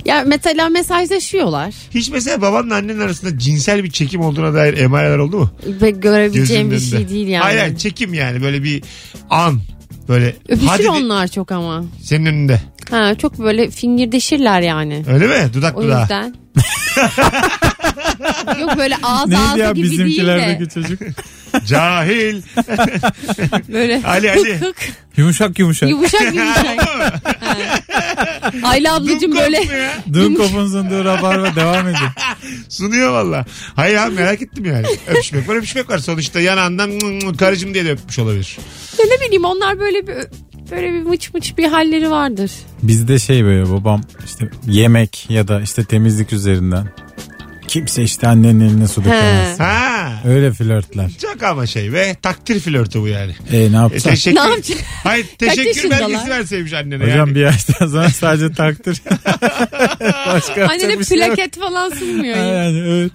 S4: Ya mesela mesajlaşıyorlar
S2: Hiç mesela babanla annenin arasında cinsel bir çekim olduğuna dair emareler oldu mu?
S4: ve görebileceğim bir
S2: Gözünün önünde.
S4: şey değil yani.
S2: Hayır hayır, çekim yani böyle bir an. Böyle
S4: Öpüşür
S2: hadi de-
S4: onlar çok ama.
S2: senin önünde.
S4: Ha, çok böyle fingirdeşirler yani.
S2: Öyle mi? Dudak
S4: O
S2: dudağa.
S4: yüzden. Yok böyle ağız
S3: Neydi
S4: ağza
S3: ya
S4: gibi değil de.
S3: bizimkilerdeki çocuk?
S2: Cahil.
S4: Böyle
S2: Ali,
S4: hık
S2: Ali.
S4: hık
S3: yumuşak yumuşak.
S4: yumuşak yumuşak. Ayla ablacığım
S2: Dum
S4: böyle
S2: koptu ya.
S3: Dün kopun sunduğu rabarba devam edin.
S2: Sunuyor valla. Hayır abi merak ettim yani. Öpüşmek var öpüşmek var. Sonuçta yanağından "Mmm, mmm, karıcığım diye de öpmüş olabilir.
S4: Ya ne bileyim onlar böyle bir böyle bir mıç mıç bir halleri vardır.
S3: Bizde şey böyle babam işte yemek ya da işte temizlik üzerinden. Kimse işte annenin eline su dökemez.
S2: Ha.
S3: Öyle flörtler.
S2: Çok ama şey ve takdir flörtü bu yani.
S3: E ne
S2: E,
S3: yapsak?
S2: teşekkür.
S4: Ne yapacak?
S2: Hayır teşekkür
S4: yaşındalar?
S2: belgesi verseymiş annene
S3: Hocam
S2: yani.
S3: bir yaştan sonra sadece takdir. Başka yapacak
S4: Annene
S3: bir şey yok.
S4: plaket falan sunmuyor.
S3: Ha, yani evet.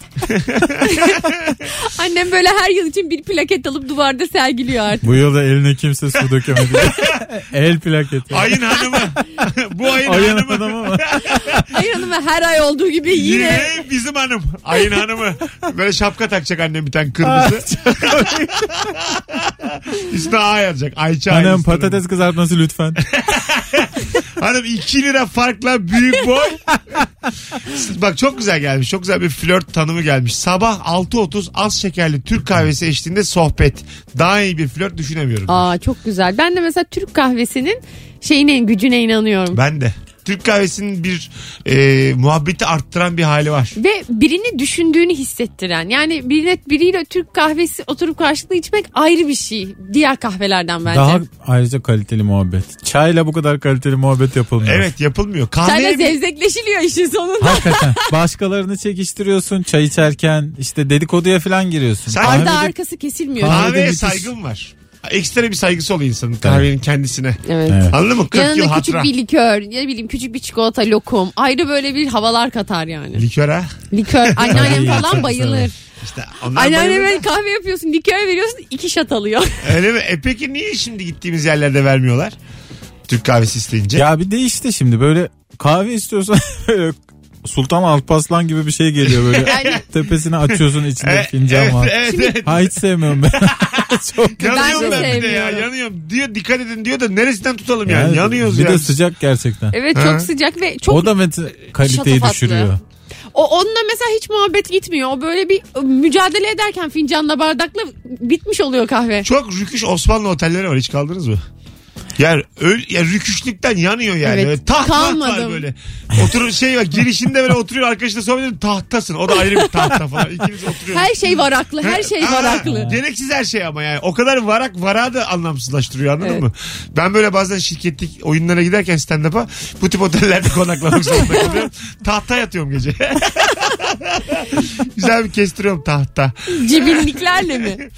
S4: Annem böyle her yıl için bir plaket alıp duvarda sergiliyor artık.
S3: Bu yılda eline kimse su dökemedi. El plaketi.
S2: Ayın hanımı. bu ayın,
S3: Ayın
S2: hanımı.
S3: adam ama.
S4: Hayır hanım her ay olduğu gibi yine.
S2: Yine bizim hanım. Ayın hanımı. Böyle şapka takacak annem bir tane kırmızı. Üstüne A yazacak. Ayça
S3: Annem
S2: ailesi hanımı.
S3: patates kızartması lütfen.
S2: Hanım 2 lira farkla büyük boy. Bak çok güzel gelmiş. Çok güzel bir flört tanımı gelmiş. Sabah 6.30 az şekerli Türk kahvesi eşliğinde sohbet. Daha iyi bir flört düşünemiyorum.
S4: Aa çok güzel. Ben de mesela Türk kahvesinin şeyine gücüne inanıyorum.
S2: Ben de. Türk kahvesinin bir e, muhabbeti arttıran bir hali var.
S4: Ve birini düşündüğünü hissettiren. Yani birine, biriyle Türk kahvesi oturup karşılıklı içmek ayrı bir şey. Diğer kahvelerden bence.
S3: Daha ayrıca kaliteli muhabbet. Çayla bu kadar kaliteli muhabbet yapılmıyor.
S2: Evet yapılmıyor.
S4: Senle
S2: Kahveye bir-
S4: zevzekleşiliyor işin sonunda.
S3: Hakikaten. Başkalarını çekiştiriyorsun çay içerken işte dedikoduya falan giriyorsun.
S2: Sen-
S3: Kahvede-
S4: Arda arkası kesilmiyor.
S3: Kahve-
S2: kahveye
S3: müthiş.
S2: saygım var. Ekstra bir saygısı oluyor insanın kahvenin kendisine.
S4: Evet.
S3: Evet.
S2: Anladın mı? 40 yıl
S4: Yanında küçük
S2: hatıra.
S4: bir likör, ne bileyim küçük bir çikolata lokum. Ayrı böyle bir havalar katar yani.
S2: Likör ha.
S4: Likör anneannem
S3: Ay, çok
S4: falan
S3: güzel.
S4: bayılır.
S2: İşte onlar bayılır
S4: Anneanneme
S2: da.
S4: kahve yapıyorsun, likör veriyorsun, iki şat alıyor.
S2: Öyle mi? E peki niye şimdi gittiğimiz yerlerde vermiyorlar? Türk kahvesi isteyince.
S3: Ya bir de işte şimdi böyle kahve istiyorsan böyle Sultan Alpaslan gibi bir şey geliyor böyle.
S4: Yani-
S3: Tepesini açıyorsun içinde
S2: E,
S3: fincan
S2: evet,
S3: var.
S2: Evet, evet.
S3: Ha hiç sevmiyorum ben. Çok
S2: Yanıyorum
S4: Ben
S2: ben,
S4: de
S2: bir de ya
S4: sevmiyorum.
S2: yanıyorum. Diyor dikkat edin diyor da neresinden tutalım yani. Yanıyoruz
S3: bir
S2: ya.
S3: de sıcak gerçekten.
S4: Evet
S2: Ha.
S4: çok sıcak ve çok
S3: o da met- kaliteyi
S4: şatafatlı.
S3: düşürüyor.
S4: O onunla mesela hiç muhabbet gitmiyor. O böyle bir e, mücadele ederken fincanla bardakla bitmiş oluyor kahve.
S2: Çok rüküş Osmanlı otelleri var hiç kaldınız mı? Yani öl, ya rüküşlükten yanıyor yani.
S4: Evet,
S2: Böyle taht maht var
S4: kalmadım.
S2: böyle. Oturur şey var girişinde böyle oturuyor arkadaşla sohbet ediyor tahtasın. O da ayrı bir tahta falan. İkiniz oturuyor.
S4: Her şey varaklı, her şey
S2: Aa,
S4: varaklı.
S2: Gereksiz her şey ama yani. O kadar varak varağı da anlamsızlaştırıyor anladın
S4: Evet.
S2: mı? Ben böyle bazen şirketlik oyunlara giderken stand-up'a bu tip otellerde konaklamak zorunda kalıyorum. Tahta yatıyorum gece. Güzel bir kestiriyorum tahta.
S4: Cibinliklerle mi?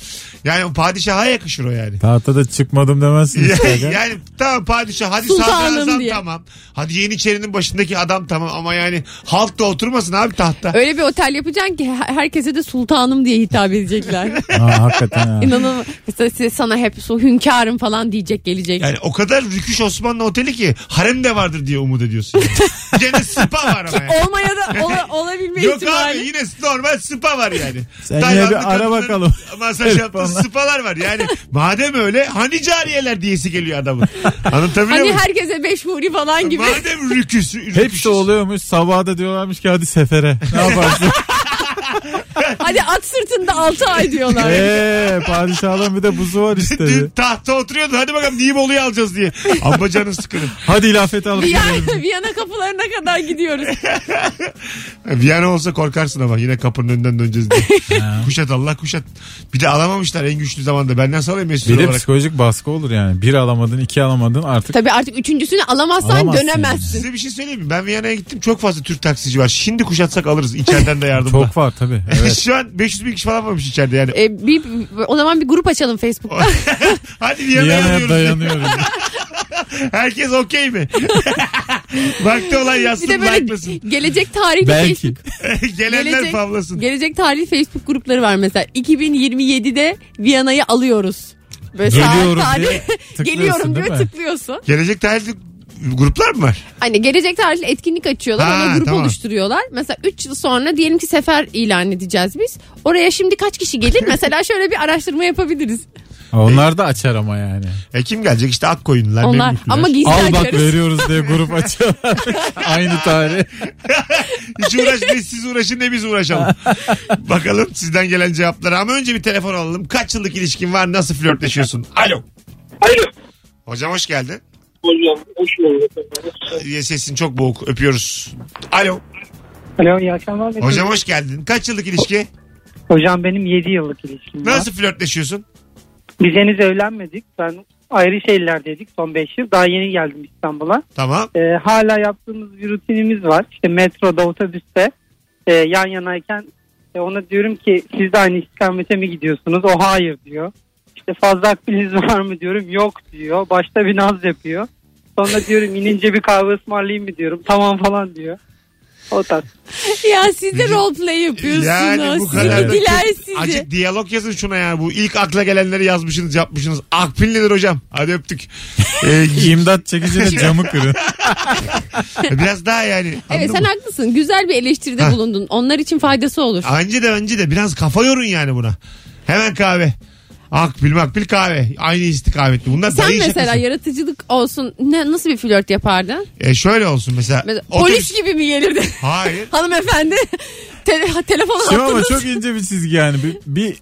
S2: Yani o padişaha yakışır o yani.
S3: Tahtada çıkmadım demezsin.
S2: Yani,
S3: işte.
S2: yani tamam padişah hadi
S4: Sultanım
S2: sadrazam
S4: diye.
S2: tamam. Hadi Yeniçeri'nin başındaki adam tamam ama yani halk da oturmasın abi tahtta.
S4: Öyle bir otel yapacaksın ki her- herkese de sultanım diye hitap edecekler.
S3: Ha, hakikaten ha.
S4: İnanılmaz. Mesela size- sana hep su hünkârım falan diyecek gelecek.
S2: Yani o kadar rüküş Osmanlı oteli ki harem de vardır diye umut ediyorsun. Yani. Gene spa var ama yani.
S4: Olmaya da ola- olabilme
S2: Yok
S4: ihtimali.
S2: abi yine normal spa var yani.
S3: Sen yine
S2: Taylandlı
S3: bir ara
S2: kadınların
S3: bakalım.
S2: Masaj yaptığı spalar var yani. Madem öyle hani cariyeler diyesi geliyor adamın. Anlatabiliyor
S4: Hani
S2: muyum?
S4: herkese beş huri falan gibi.
S2: Madem rüküs. rüküşüz.
S4: şey.
S3: Hepsi oluyormuş. Sabah da diyorlarmış ki hadi sefere. Ne yaparsın?
S4: Hadi at sırtında altı ay diyorlar.
S3: Eee padişahın bir de buzu var
S2: Dün
S3: işte.
S2: tahta oturuyordu hadi bakalım niye Bolu'yu alacağız diye. Ama canın sıkılır.
S3: hadi ilafet alıp gidelim.
S4: Viyana, Viyana kapılarına kadar gidiyoruz.
S2: E, Viyana olsa korkarsın ama yine kapının önünden döneceğiz diye. kuşat Allah kuşat. Bir de alamamışlar en güçlü zamanda. Benden salayım Mesut
S3: Bir de
S2: Şey olarak.
S3: psikolojik baskı olur yani. Bir alamadın, iki alamadın artık.
S4: Tabii artık üçüncüsünü alamazsan
S3: Alamazsın
S4: dönemezsin.
S2: Size bir şey söyleyeyim mi? Ben Viyana'ya gittim. Çok fazla Türk taksici var. Şimdi kuşatsak alırız. İçeriden de yardımla.
S3: Çok var tabii. Evet.
S2: Şu an 500 bin kişi falan varmış içeride yani.
S4: E, bir, o zaman bir grup açalım Facebook'ta.
S2: Hadi
S3: Bir
S2: Viyana'ya
S3: yana
S2: alıyoruz.
S3: dayanıyoruz.
S2: Herkes okey mi? Vakti olan yazsın
S4: Bir de böyle
S2: like'lasın.
S4: gelecek tarihi
S3: Belki.
S4: Facebook
S2: Gelenler
S4: gelecek,
S2: favlasın.
S4: gelecek tarihi Facebook grupları var mesela. 2027'de Viyana'yı alıyoruz. Böyle
S3: Geliyorum
S4: saat
S3: diye
S4: tarihi
S3: tıklıyorsun,
S4: geliyorum
S3: değil
S4: diyor
S3: mi?
S4: tıklıyorsun.
S2: Gelecek tarihli gruplar mı var?
S4: Hani gelecek tarihli etkinlik açıyorlar.
S2: Ha,
S4: ona grup
S2: tamam.
S4: oluşturuyorlar. Mesela 3 yıl sonra diyelim ki sefer ilan edeceğiz biz. Oraya şimdi kaç kişi gelir? Mesela şöyle bir araştırma yapabiliriz.
S3: Onlar da açar ama yani.
S2: E kim gelecek? İşte Akkoyunlular,
S4: Onlar
S2: Memlükler.
S4: ama gizli
S3: Al bak
S4: açıyoruz.
S3: veriyoruz diye grup açıyorlar. Aynı tarih.
S2: Hiç uğraş ne siz uğraşın ne biz uğraşalım. Bakalım sizden gelen cevapları. Ama önce bir telefon alalım. Kaç yıllık ilişkin var? Nasıl flörtleşiyorsun? Alo.
S5: Alo.
S2: Hocam hoş geldin.
S5: Hocam hoş geldin.
S2: Ee, Sesin çok boğuk. Öpüyoruz. Alo.
S7: Alo iyi akşamlar. Mesut.
S2: Hocam hoş geldin. Kaç yıllık ilişki?
S7: Hocam benim 7 yıllık ilişkim var.
S2: Nasıl flörtleşiyorsun?
S7: Biz henüz evlenmedik. Ben ayrı şehirlerdeydik son 5 yıl. Daha yeni geldim İstanbul'a.
S2: Tamam.
S7: Ee, hala yaptığımız bir rutinimiz var. İşte metroda otobüste e, yan yanayken e, ona diyorum ki siz de aynı istikamete mi gidiyorsunuz? O hayır diyor. İşte fazla akbiliniz var mı diyorum. Yok diyor. Başta bir naz yapıyor. Sonra diyorum inince bir kahve ısmarlayayım mı diyorum. Tamam falan diyor. O tarz.
S4: Ya siz de roleplay yapıyorsunuz.
S2: Yani bu kadar da-
S4: Sevgiler sizi.
S2: Azıcık diyalog yazın şuna ya. Bu ilk akla gelenleri yazmışsınız yapmışsınız. Akpil nedir hocam? Hadi öptük. Ee,
S3: İmdat çekiciyle camı kırın.
S2: E, biraz daha yani.
S4: Evet
S2: Anladın
S4: sen
S2: mı?
S4: haklısın. Güzel bir eleştiride
S2: Ha.
S4: bulundun. Onlar için faydası olur.
S2: Anca de önce de biraz kafa yorun yani buna. Hemen kahve. Akbil makbil kahve. Aynı istikametli. Bunlar
S4: Sen
S2: dayı
S4: mesela
S2: şakası.
S4: yaratıcılık olsun. Ne nasıl bir flört yapardın?
S2: E şöyle olsun mesela.
S4: Mesela,
S2: otobüs-
S4: polis gibi mi gelirdin?
S2: Hayır.
S4: Hanımefendi tele, telefon
S3: Şimdi ama
S4: attınız.
S3: çok ince bir çizgi yani. Bir, bir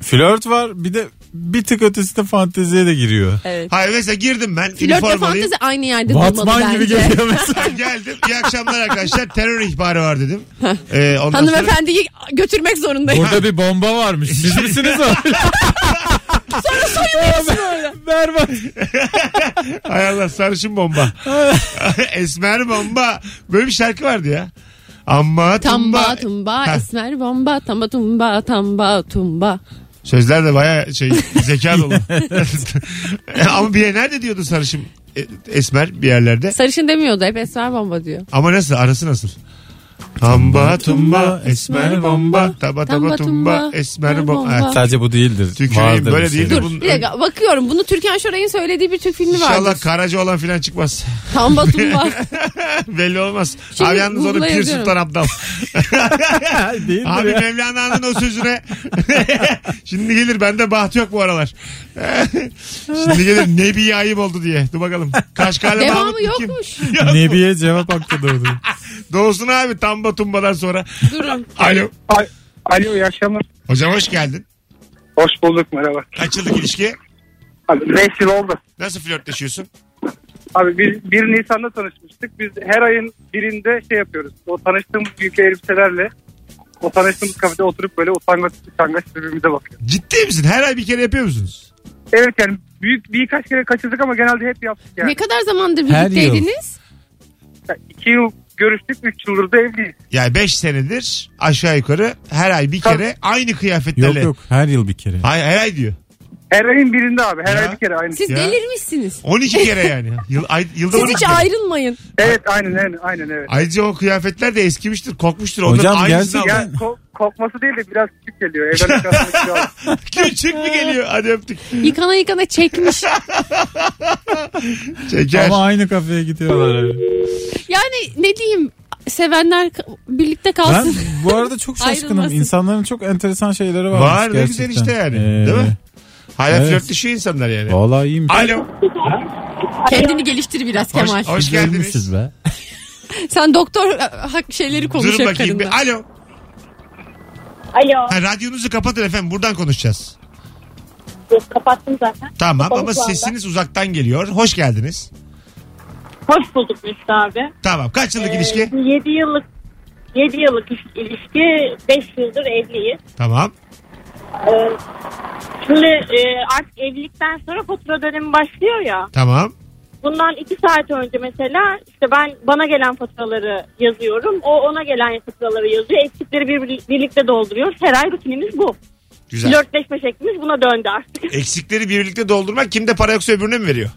S3: flört var bir de bir tık ötesi de fanteziye de giriyor.
S4: Evet.
S2: Hayır mesela girdim ben.
S4: Flört ve
S2: üniformalıyım.
S4: fantezi aynı yerde durmalı
S3: Batman
S4: bence.
S3: gibi geliyor mesela.
S2: Ben geldim. İyi akşamlar arkadaşlar. Terör ihbarı var dedim. Ee, ondan sonra
S4: Hanımefendiyi götürmek zorundayım.
S3: Burada bir bomba varmış. Siz misiniz o? Berbat.
S2: hay Allah sarışın bomba. Esmer bomba. Böyle bir şarkı vardı ya. Amma tumba.
S4: Tamba tumba
S2: Ha.
S4: esmer bomba tamba tumba tamba tumba.
S2: Sözler de baya şey zeka dolu. Ama bir nerede diyordu sarışın e, esmer bir yerlerde.
S4: Sarışın demiyordu hep esmer bomba diyor.
S2: Ama nasıl arası nasıl? Tamba tumba esmer bomba taba taba
S4: Tamba
S2: tumba
S4: tumba,
S2: esmer
S4: esmer
S2: bomba.
S4: bomba.
S2: Ha,
S3: Sadece bu değildir.
S2: Tüküreyim,
S3: Vardır
S2: böyle
S3: bir şey.
S2: değildir.
S4: Dur
S2: bunun-
S4: bir dakika bakıyorum bunu Türkan Şoray'ın söylediği bir Türk filmi var.
S2: İnşallah Karaca olan filan çıkmaz.
S4: Tamba tumba.
S2: Belli olmaz.
S4: Şimdi
S2: Abi yalnız onu
S4: Google'a
S2: Pir
S4: yazıyorum.
S2: Sultan Abdal.
S3: değildir
S2: Abi
S3: ya.
S2: Mevlana'nın o sözüne. Şimdi gelir bende baht yok bu aralar. Şimdi gelir Nebi ayıp oldu diye. Dur bakalım. Kaşgarlı Mahmut
S4: Devamı
S2: mu kim?
S4: yokmuş.
S3: Nebiye cevap hakkı doğdu.
S2: Doğsun abi tamba tumbadan sonra.
S4: Durun.
S2: Alo.
S5: Alo iyi akşamlar.
S2: Hocam hoş geldin.
S5: Hoş bulduk merhaba.
S2: Kaç yıllık ilişki?
S5: Abi 5 yıl oldu.
S2: Nasıl flörtleşiyorsun?
S5: Abi biz 1 Nisan'da tanışmıştık. Biz her ayın birinde şey yapıyoruz. O tanıştığımız ülke elbiselerle o tanıştığımız kafede oturup böyle utangaç utangaç birbirimize bakıyoruz.
S2: Ciddi misin? Her ay bir kere yapıyor musunuz?
S5: Evet yani büyük birkaç kere kaçırdık ama genelde hep yaptık yani.
S4: Ne kadar zamandır
S3: Her yıl.
S4: birlikteydiniz?
S5: 2 yıl görüştük 3 yıldır da evliyiz.
S2: Yani 5 senedir aşağı yukarı her ay bir
S5: Tabii.
S2: kere aynı
S3: Yok
S2: kıyafetlerle.
S3: yok her yıl bir kere.
S2: Hayır her ay diyor.
S5: Her ayın birinde abi her
S2: Ya.
S5: ay bir kere aynı.
S4: Siz
S2: Ya.
S4: delirmişsiniz.
S2: 12 kere yani. Yıl, ay, yılda
S4: Siz
S2: 12
S4: hiç
S2: kere.
S4: ayrılmayın.
S5: Evet aynen aynen, aynen evet.
S2: Ayrıca o kıyafetler de eskimiştir, kokmuştur. Onların
S3: Hocam
S2: aynısını
S3: gerçekten
S2: al.
S5: Yani ko- kokması değil de biraz küçük geliyor. Evlendik aslında biraz.
S2: Küçük mü geliyor? Hadi öptük.
S4: Yıkana yıkana çekmiş.
S2: Çeker.
S3: ama aynı kafeye gidiyorlar. abi.
S4: Yani ne diyeyim sevenler k- birlikte
S3: Ben
S4: kalsın.
S3: bu arada çok şaşkınım.
S4: Ayrılmasın.
S3: İnsanların çok enteresan şeyleri varmış
S2: Var ne
S3: gerçekten.
S2: güzel işte yani.
S3: Ee,
S2: Değil mi? Hala
S3: evet.
S2: flörtleşiyor insanlar yani.
S3: Vallahi iyiymiş.
S2: Alo.
S4: Kendini geliştir biraz
S2: Hoş,
S4: Kemal.
S2: hoş geldiniz.
S3: Güzelmişiz be.
S4: Sen doktor e, hak şeyleri konuş
S2: Durun
S4: hep
S2: bakayım.
S4: karınla.
S2: Bir. Alo.
S8: Alo.
S2: Ha, radyonuzu kapatın efendim. Buradan konuşacağız.
S8: Yok, kapattım zaten.
S2: Tamam
S8: Kapalı
S2: ama
S8: şu anda.
S2: sesiniz uzaktan geliyor. Hoş geldiniz.
S8: Hoş bulduk Mesut abi.
S2: Tamam. Kaç
S8: Ee.
S2: yıllık ilişki?
S8: 7 yıllık 7 yıllık iş- ilişki 5 yıldır evliyiz.
S2: Tamam.
S8: Ee, şimdi e, artık evlilikten sonra fatura dönemi başlıyor ya.
S2: Tamam.
S8: Bundan 2 saat önce mesela işte ben bana gelen faturaları yazıyorum. O ona gelen faturaları yazıyor. Eksikleri bir, birlikte dolduruyoruz. Her ay rutinimiz bu.
S2: Güzel.
S8: Flörtleşme şeklimiz buna döndü artık.
S2: Eksikleri birlikte doldurmak kimde para yoksa öbürüne mi veriyor?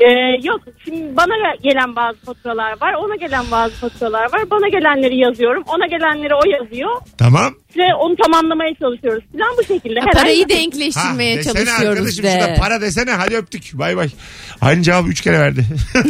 S8: Ee, yok şimdi bana gelen bazı faturalar var ona gelen bazı faturalar var bana gelenleri yazıyorum ona gelenleri o yazıyor
S2: Tamam.
S8: ve onu tamamlamaya çalışıyoruz falan bu şekilde.
S4: Ya
S8: Her ay-
S4: parayı
S2: Ha,
S4: denkleştirmeye
S2: desene
S4: çalışıyoruz
S2: arkadaşım şuna
S4: de.
S2: para desene hadi öptük bay bay. Aynı cevabı üç kere verdi.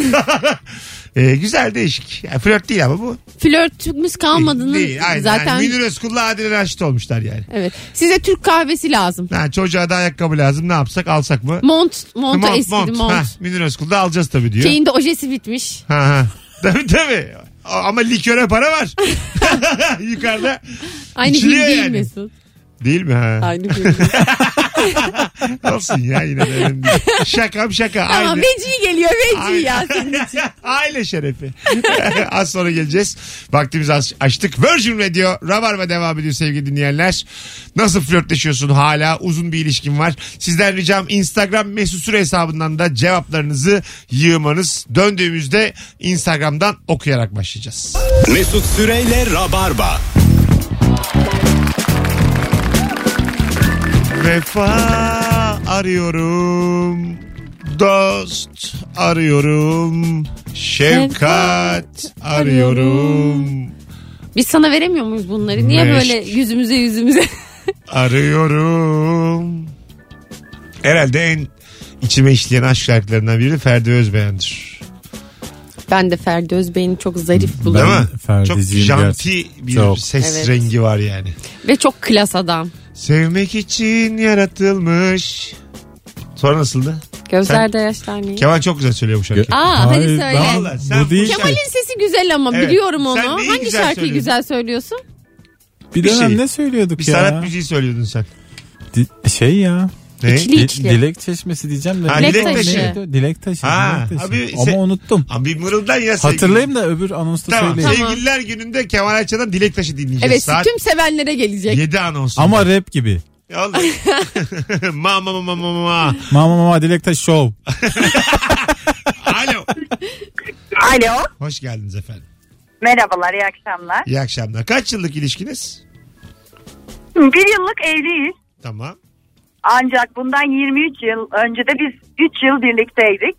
S2: Ee, güzel değişik. Yani flört değil ama bu.
S4: Flörtümüz kalmadığının
S2: Değil, aynen.
S4: zaten...
S2: Yani Münir Özkul'la Adile Raşit olmuşlar yani.
S4: Evet. Size Türk kahvesi lazım.
S2: Ha, çocuğa da ayakkabı lazım ne yapsak alsak mı?
S4: Mont, monta
S2: Mont,
S4: eskidi mont. Şey-
S2: Ha, Münir Özkul'da alacağız tabii diyor.
S4: Şeyin de ojesi bitmiş.
S2: Ha, ha. Tabii tabii. A- Ama liköre para var. Yukarıda.
S4: Aynı gün
S2: İçiliyor
S4: değil
S2: yani.
S4: Mesut.
S2: Değil mi ha?
S4: Aynı gün değil.
S2: Olsun ya yine de önemli değil. Şakam şaka.
S4: Ama
S2: Aynı.
S4: veci geliyor veci
S2: Aile-
S4: ya senin için.
S2: Aile şerefi. az sonra geleceğiz. Vaktimizi aç- açtık. Virgin Radio Rabarba devam ediyor sevgili dinleyenler. Nasıl flörtleşiyorsun hala? Uzun bir ilişkin var. Sizden ricam Instagram mesut süre hesabından da cevaplarınızı yığmanız. Döndüğümüzde Instagram'dan okuyarak başlayacağız.
S1: Mesut Süreyle Rabarba.
S2: Vefa arıyorum. Dost arıyorum. Şefkat arıyorum.
S4: Biz sana veremiyor muyuz bunları? Niye
S2: Meşk.
S4: böyle yüzümüze yüzümüze?
S2: Arıyorum. Herhalde en içime işleyen aşk şarkılarından biri Ferdi Özbeğen'dir.
S4: ben de Ferdi Özbey'ini çok zarif
S2: Değil
S4: buluyorum.
S3: Ben
S2: mi? Çok
S3: Ferdi'ciyim
S2: janti
S3: gerçekten.
S2: bir
S3: Çok.
S2: ses
S4: Evet.
S2: rengi var yani.
S4: Ve çok klas adam.
S2: Sevmek için yaratılmış. Sonra nasılda?
S4: Gözlerde yaşlanmayı.
S2: Kemal çok güzel söylüyor bu şarkıyı.
S4: Aa hadi
S3: Hayır,
S4: söyle.
S3: ben-
S2: Vallahi sen şey-
S3: bu değil.
S4: Kemal'in sesi güzel ama
S2: Evet.
S4: biliyorum onu.
S2: Sen neyi
S4: Hangi
S2: güzel
S4: şarkıyı
S2: söylüyorsun?
S4: güzel söylüyorsun?
S3: Bir
S2: Bir
S3: dönem
S2: şey.
S3: ne söylüyorduk
S2: Bir
S3: ya?
S2: sanat müziği söylüyordun sen.
S3: Di- şey ya.
S2: Ne?
S4: İçli-
S3: Di-
S4: İçli.
S3: dilek çeşmesi diyeceğim de.
S2: Ha,
S4: Dilek
S2: dilek
S4: taşı.
S2: taşı.
S3: Dilek, dilek taşı.
S2: Ha,
S3: dilek taşı.
S2: abi
S3: Ama
S2: se-
S3: unuttum.
S2: Abi bir mırıldan ya sevgili.
S3: Hatırlayayım da öbür anonsta
S2: Tamam.
S3: söyleyeyim.
S2: Sevgililer gününde Kemal Ayça'dan Dilek Taşı dinleyeceğiz.
S4: Evet
S2: Saat
S4: tüm sevenlere gelecek.
S2: 7 anonsu.
S3: Ama rap gibi.
S2: Vallahi. ma ma ma ma ma.
S3: Mama mama dilek taşı show.
S2: Alo.
S9: Alo.
S2: Hoş geldiniz efendim.
S9: Merhabalar, iyi akşamlar.
S2: İyi akşamlar. Kaç yıllık ilişkiniz?
S9: Bir yıllık evliyiz.
S2: Tamam.
S9: Ancak bundan 23 yıl önce de biz 3 yıl birlikteydik.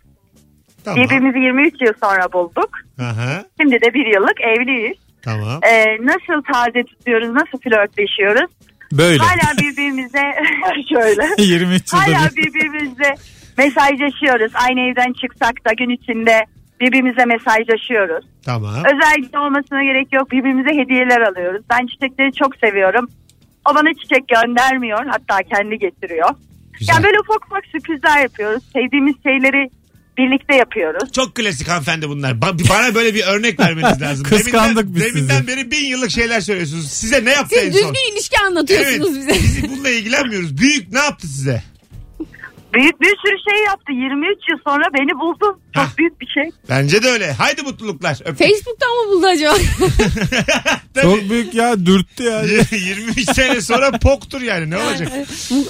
S2: Tamam.
S9: Birbirimizi 23 yıl sonra bulduk.
S2: Aha,
S9: Şimdi de bir yıllık evliyiz.
S2: tamam.
S9: Ee, nasıl taze tutuyoruz, nasıl flörtleşiyoruz?
S3: Böyle.
S9: Hala birbirimize şöyle.
S3: 23 yılda
S9: Hala
S3: bir.
S9: birbirimizle mesajlaşıyoruz. Aynı evden çıksak da gün içinde birbirimize mesajlaşıyoruz.
S2: Tamam.
S9: Özellikle olmasına gerek yok. Birbirimize hediyeler alıyoruz. Ben çiçekleri çok seviyorum. O bana çiçek göndermiyor. Hatta kendi getiriyor.
S2: Güzel.
S9: Yani böyle ufak ufak sürprizler yapıyoruz. Sevdiğimiz şeyleri birlikte yapıyoruz.
S2: Çok klasik hanımefendi bunlar. Ba- bana böyle bir örnek vermeniz lazım.
S3: Kıskandık
S2: deminden,
S3: biz sizi.
S2: Deminden beri bin yıllık şeyler söylüyorsunuz. Size ne yaptı
S4: Siz
S2: en son?
S4: düzgün ilişki anlatıyorsunuz
S2: Evet,
S4: bize.
S2: biz bununla ilgilenmiyoruz. Büyük ne yaptı size?
S9: Büyük bir sürü şey yaptı. 23 yıl sonra beni buldu. Çok
S2: Hah.
S9: büyük bir şey.
S2: Bence de öyle. Haydi mutluluklar. Öptük.
S4: Facebook'tan mı buldu acaba?
S3: Çok büyük ya dürttü ya.
S2: 23 sene sonra poktur yani ne olacak?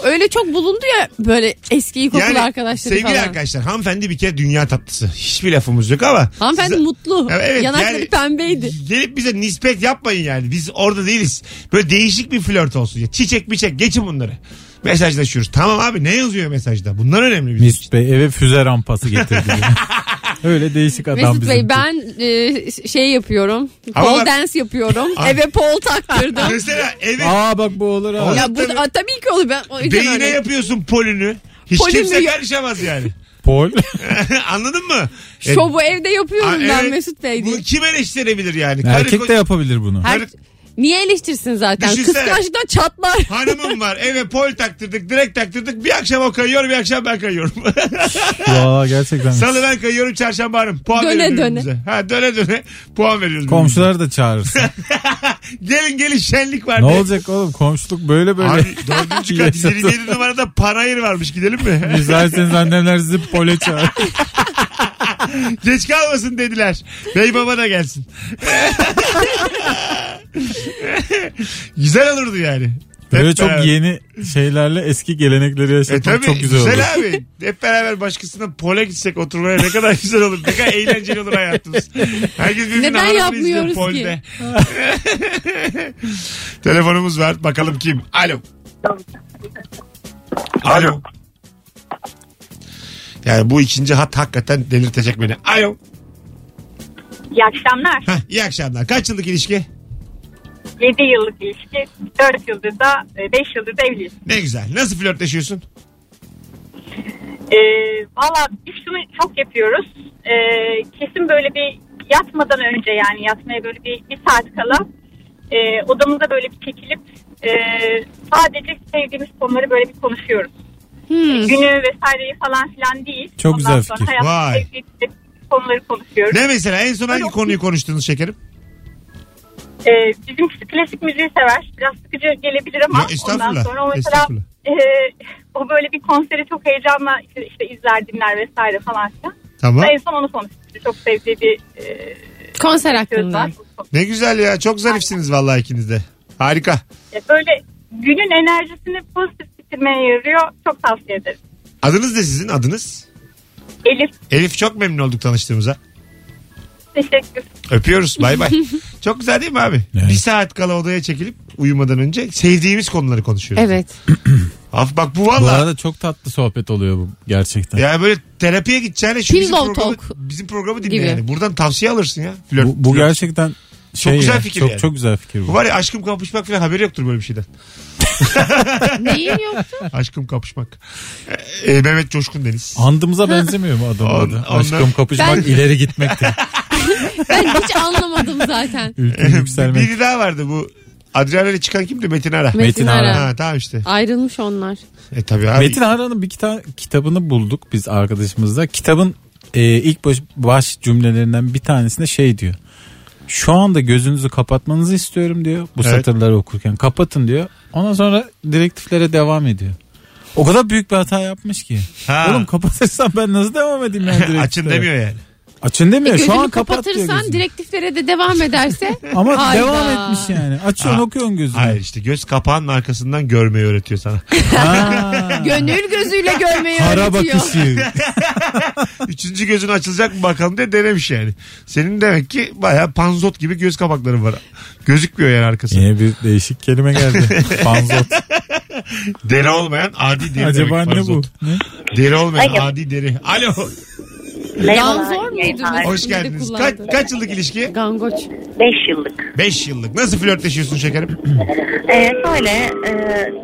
S4: Öyle çok bulundu ya böyle eski ilkokul
S2: Yani
S4: arkadaşları
S2: sevgili
S4: falan.
S2: arkadaşlar hanımefendi bir kere dünya tatlısı. Hiçbir lafımız yok ama.
S4: Hanımefendi
S2: size-
S4: mutlu.
S2: Evet,
S4: Yanakları
S2: yani-
S4: pembeydi.
S2: Gelip bize nispet yapmayın yani. Biz orada değiliz. Böyle değişik bir flört olsun. Ya. Çiçek biçek geçin bunları. Mesajlaşıyoruz. Tamam abi ne yazıyor mesajda? Bunlar önemli bizim için.
S3: Mesut Bey eve füze rampası getirdi. bize. Öyle değişik adam
S4: Mesut
S3: bizimki.
S4: Bey ben e, şey yapıyorum.
S2: Ama
S4: pole
S2: bak-
S4: dance yapıyorum.
S2: Ay.
S4: Eve pole taktırdım.
S2: Mesela evet
S3: Aa bak bu olur ha.
S4: ya bu
S2: Tabii.
S4: a, tabii ki olur. Ben o yüzden
S2: beyine
S4: öyle-
S2: yapıyorsun polünü. Hiç
S4: Polünü
S2: kimse
S4: yap-
S2: karışamaz yani.
S3: Pol.
S2: Anladın mı?
S4: Şovu evde yapıyorum
S2: Aa,
S4: ben
S2: evet.
S4: Mesut Bey diye.
S2: Bunu kim eleştirebilir yani? Karı
S3: Erkek
S2: koca-
S3: de yapabilir bunu.
S4: Her-
S2: Karı-
S4: Niye eleştirsin zaten?
S2: Düşünsene.
S4: Kıskançlıktan çatlar.
S2: Hanımım var eve pol taktırdık direkt taktırdık bir akşam o kayıyor bir akşam ben kayıyorum.
S3: Valla gerçekten.
S2: Salı ben kayıyorum çarşamba hanım. Puan
S4: Döne
S2: veriyoruz
S4: döne.
S2: birbirimize. Ha döne döne puan veriyoruz.
S3: Komşular da çağırırsın.
S2: birbirimize. gelin gelin şenlik var.
S3: ne
S2: diye.
S3: olacak oğlum komşuluk böyle böyle.
S2: Abi dördüncü kat
S3: Yaşasın.
S2: ileri geri numarada panayır varmış gidelim mi?
S3: İzlerseniz annemler sizi pole çağırır.
S2: Geç kalmasın dediler. Bey baba da gelsin. güzel olurdu yani.
S3: Böyle
S2: Hep
S3: çok
S2: beraber.
S3: yeni şeylerle eski gelenekleri
S2: E
S3: yaşatmak
S2: tabii
S3: çok güzel, olur.
S2: abi. Hep beraber başkasının pole gitsek oturmaya ne kadar güzel olur. Ne kadar eğlenceli olur hayatımız. Herkes birbirinin
S4: Neden
S2: hanımını
S4: yapmıyoruz
S2: izliyor
S4: ki?
S2: polde. Telefonumuz var. Bakalım kim? Alo. Alo. Yani bu ikinci hat hakikaten delirtecek beni. Alo.
S8: İyi akşamlar.
S2: Hah, iyi akşamlar. Kaç yıllık ilişki?
S8: 7 yıllık ilişki. 4 yıldır da 5 yıldır da evliyiz.
S2: Ne güzel. Nasıl flörtleşiyorsun?
S8: Ee, Valla biz şunu çok yapıyoruz. Ee, kesin böyle bir yatmadan önce yani yatmaya böyle bir, bir saat kala e, odamıza böyle bir çekilip e, sadece sevdiğimiz konuları böyle bir konuşuyoruz.
S4: Hmm.
S8: Günü vesaireyi falan filan değil.
S3: Çok güzel
S8: sonra
S3: fikir.
S8: hayatta
S2: Vay.
S8: sevdiğimiz konuları konuşuyoruz.
S2: Ne mesela en son hangi konuyu konuştunuz şekerim?
S8: Ee, bizimkisi klasik müziği sever. Biraz sıkıcı gelebilir ama
S2: Ya, estağfurullah,
S8: ondan sonra o mesela
S2: estağfurullah.
S8: e, o böyle bir konseri çok heyecanla işte, işte izler dinler vesaire falan filan.
S2: Tamam.
S8: En son onu konuştuk. Çok sevdiği bir e,
S4: Konser
S8: söz
S4: hakkında.
S8: var.
S2: Ne güzel ya. Çok zarifsiniz vallahi ikiniz de. Harika.
S8: E, Böyle günün enerjisini pozitif bitirmeye yarıyor. Çok tavsiye ederim.
S2: Adınız ne sizin? Adınız?
S8: Elif
S2: Elif çok memnun olduk tanıştığımıza.
S8: teşekkür.
S2: Öpüyoruz. Bay bay. çok güzel değil mi abi?
S3: Evet.
S2: Bir saat kala odaya çekilip uyumadan önce sevdiğimiz konuları konuşuyoruz.
S4: Evet.
S2: Af bak bu
S3: Bu
S2: valla.
S3: arada çok tatlı sohbet oluyor bu gerçekten.
S2: Ya böyle terapiye gideceğine şu bizim
S4: Pillow
S2: programı,
S4: talk
S2: bizim programı dinle
S4: gibi.
S2: yani. Buradan tavsiye alırsın ya. Flört,
S3: bu, bu
S2: flört.
S3: gerçekten şey
S2: güzel
S3: ya,
S2: fikir
S3: çok,
S2: yani.
S3: çok güzel fikir
S2: Bu
S3: bu.
S2: var ya aşkım kapışmak falan haberi yoktur böyle bir şeyden.
S4: Neyin yoktu?
S2: Aşkım kapışmak. Ee, Mehmet Coşkun Deniz.
S3: Andımıza benzemiyor mu adamın
S2: On-
S3: adı?
S2: onlar-
S3: Aşkım kapışmak
S4: Ben-
S3: ileri gitmekti.
S4: Ben hiç anlamadım zaten.
S3: Ülkün yükselmek.
S2: Biri daha vardı bu. Adrenalin çıkan kimdi? Metin Ara.
S4: Metin
S3: Ara.
S4: Ara.
S2: Ha tamam işte.
S4: Ayrılmış onlar.
S2: E tabii abi.
S3: Metin Hara'nın bir kita- kitabını bulduk biz arkadaşımızla. Kitabın e, ilk baş, baş cümlelerinden bir tanesinde şey diyor. Şu anda gözünüzü kapatmanızı istiyorum diyor. Bu
S2: Evet.
S3: satırları okurken kapatın diyor. Ondan sonra direktiflere devam ediyor. O kadar büyük bir hata yapmış ki.
S2: Ha.
S3: Oğlum kapatırsam ben nasıl devam edeyim yani direktiflere?
S2: Açın demiyor yani.
S3: Açın
S2: E,
S3: demiyor. Şu an
S4: E, Gözünü
S3: kapat diyor
S4: kapatırsan
S3: gözünü.
S4: direktiflere de devam ederse
S3: Ama
S4: Hayda.
S3: devam etmiş yani. Açıyorsun
S2: Ha.
S3: okuyorsun gözünü.
S2: Hayır işte göz kapağının arkasından görmeyi öğretiyor sana.
S3: Ha.
S4: gönül gözüyle görmeyi
S3: Hara
S4: öğretiyor.
S3: bakışı.
S2: Üçüncü gözün açılacak mı bakalım diye denemiş yani. Senin demek ki baya panzot gibi göz kapakların var. Gözükmüyor yani arkası.
S3: Yine bir değişik kelime geldi. Panzot.
S2: Deri olmayan adi deri.
S3: Acaba
S2: demek
S3: ne bu?
S2: panzot. Deri olmayan
S9: Alo.
S2: adi deri. Alo.
S4: Ganzor muydu?
S9: Merhabalar.
S2: Hoş
S4: Mesut'un da
S2: geldiniz. Kaç,
S4: kullandığı?
S2: kaç yıllık ilişki?
S4: Gangoç.
S9: 5 yıllık.
S2: 5 yıllık. Nasıl flörtleşiyorsun şekerim?
S9: Ee, şöyle e,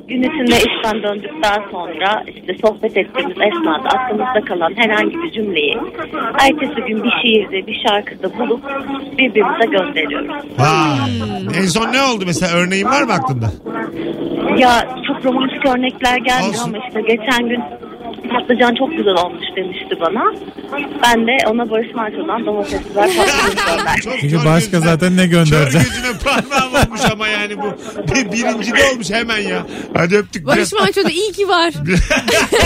S9: gün içinde işten döndükten sonra işte sohbet ettiğimiz esnada aklımızda kalan herhangi bir cümleyi ertesi gün bir şiirde bir şarkıda bulup birbirimize gönderiyoruz.
S2: Vay. En son ne oldu mesela? Örneğin var mı aklında?
S9: Ya çok romantik örnekler gelmiyor
S2: Olsun.
S9: ama işte geçen gün patlıcan çok güzel olmuş demişti bana. Ben de ona Barış Manço'dan domatesler patlıcan gönderdim.
S2: Çok kör
S3: Çünkü başka
S2: gözüne-
S3: zaten ne
S2: Kör
S3: göndereceğim?
S2: gözüne parmağım olmuş ama yani bu. Bir, birinci de olmuş hemen ya. Hadi öptük.
S4: Barış Manço'da iyi ki var.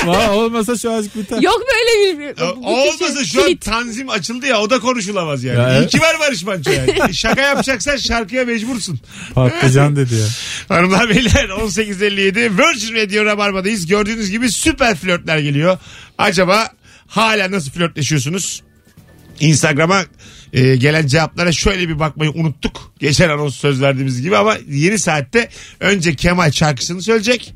S3: Valla olmasa şu aşk biter.
S4: Yok böyle bir...
S2: Ya,
S4: bu
S2: Olmasa
S4: kişi
S2: şu an
S4: kilit.
S2: tanzim açıldı ya o da konuşulamaz yani.
S3: Ya,
S2: İyi ki var Barış Manço yani. Şaka yapacaksan şarkıya mecbursun.
S3: Patlıcan dedi ya.
S2: Hanımlar beyler 18.57 Virgin Radio Rabarba'dayız. Gördüğünüz gibi süper flörtler geliyor. Acaba hala nasıl flörtleşiyorsunuz? Instagram'a e, gelen cevaplara şöyle bir bakmayı unuttuk. Geçen anons söz verdiğimiz gibi ama yeni saatte önce Kemal şarkısını söyleyecek.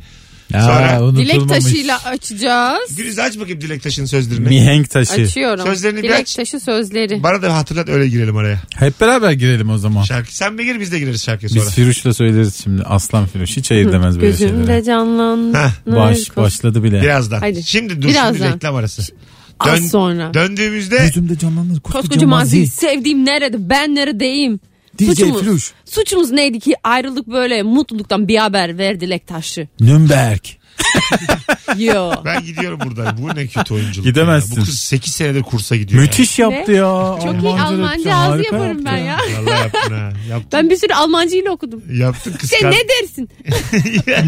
S2: Sonra-
S3: ya
S4: Dilek
S3: unutulmamış.
S4: taşıyla açacağız.
S2: Gülüz aç bakayım Dilek Taş'ın sözlerini.
S3: Mihenk taşı.
S4: Açıyorum.
S2: Sözlerini bir
S4: Dilek
S2: aç.
S4: taşı sözleri.
S2: Bana da hatırlat öyle girelim araya.
S3: Hep beraber girelim o zaman.
S2: Şarkı sen mi gir biz de gireriz şarkıya Şey, sonra.
S3: Biz Firuş'la söyleriz şimdi. Aslan Firuş hiç ayırt edemez böyle şeyleri.
S4: Gözümde canlandı.
S2: Heh.
S3: Baş, başladı bile.
S2: Birazdan.
S4: Hadi.
S2: Şimdi dursun
S4: Birazdan.
S2: bir reklam arası.
S4: Az
S2: Dön-
S4: sonra.
S2: Döndüğümüzde
S3: Gözümde canlanır.
S4: Koskoca mazi sevdiğim nerede ben neredeyim?
S3: DJ
S4: Suçumuz.
S3: Firuş.
S4: Suçumuz neydi ki ayrılık böyle mutluluktan bir haber ver dilek taşı.
S3: Nürnberg.
S4: Yo.
S2: ben gidiyorum buradan. Bu ne kötü oyunculuk.
S3: Gidemezsin.
S2: ya. Bu kız 8 senedir kursa gidiyor.
S3: Müthiş yaptı ya.
S4: Çok iyi Almanca ağzı yaparım ben ya.
S2: Ya. Vallahi yaptın ha. Yaptın.
S4: Ben bir sürü Almancıyla okudum.
S2: Yaptın kıskan.
S4: Sen ne dersin?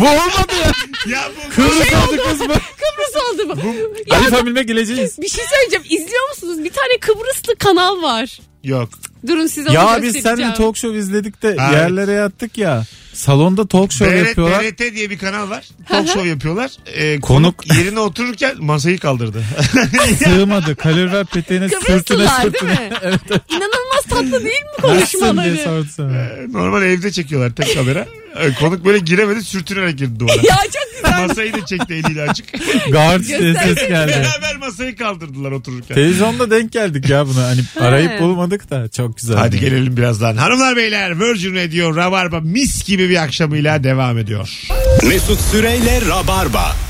S3: Bu olmadı ya.
S2: Ya bu
S3: Kıbrıs oldu kız bu.
S4: Kıbrıs oldu bu. şey Ya
S3: Alif Hamil'e geleceğiz.
S4: bir şey söyleyeceğim. İzliyor musunuz? Bir tane Kıbrıslı kanal var.
S2: Yok.
S4: Durun size onu
S3: Ya biz
S4: göstereceğim.
S3: seninle talk show izledik de
S2: Evet.
S3: yerlere yattık ya. Salonda talk show
S2: BRT,
S3: yapıyorlar.
S2: BRT diye bir kanal var. Talk show yapıyorlar. Ee, konuk,
S3: Konuk-
S2: yerine otururken masayı kaldırdı.
S3: Sığmadı. Kalorifer peteğine sürtüne
S4: Kıbrıslılar değil
S3: sürtüne.
S4: mi? İnanılmaz tatlı değil mi
S3: Nasılsın diye
S4: konuşmaları?
S3: sordu sana.
S2: Normal evde çekiyorlar tek kamera. Ee, Konuk böyle giremedi sürtünerek girdi duvara.
S10: ya çok güzel.
S2: Masayı da çekti eliyle açık.
S3: Guard diye ses geldi.
S2: Beraber masayı kaldırdılar otururken.
S3: Televizyonda denk geldik ya buna. Hani arayıp bulmadık da çok güzel.
S2: Hadi gelelim birazdan. Hanımlar beyler Virgin Radio Rabarba mis gibi bir akşamıyla devam ediyor.
S1: Mesut Süreyle Rabarba.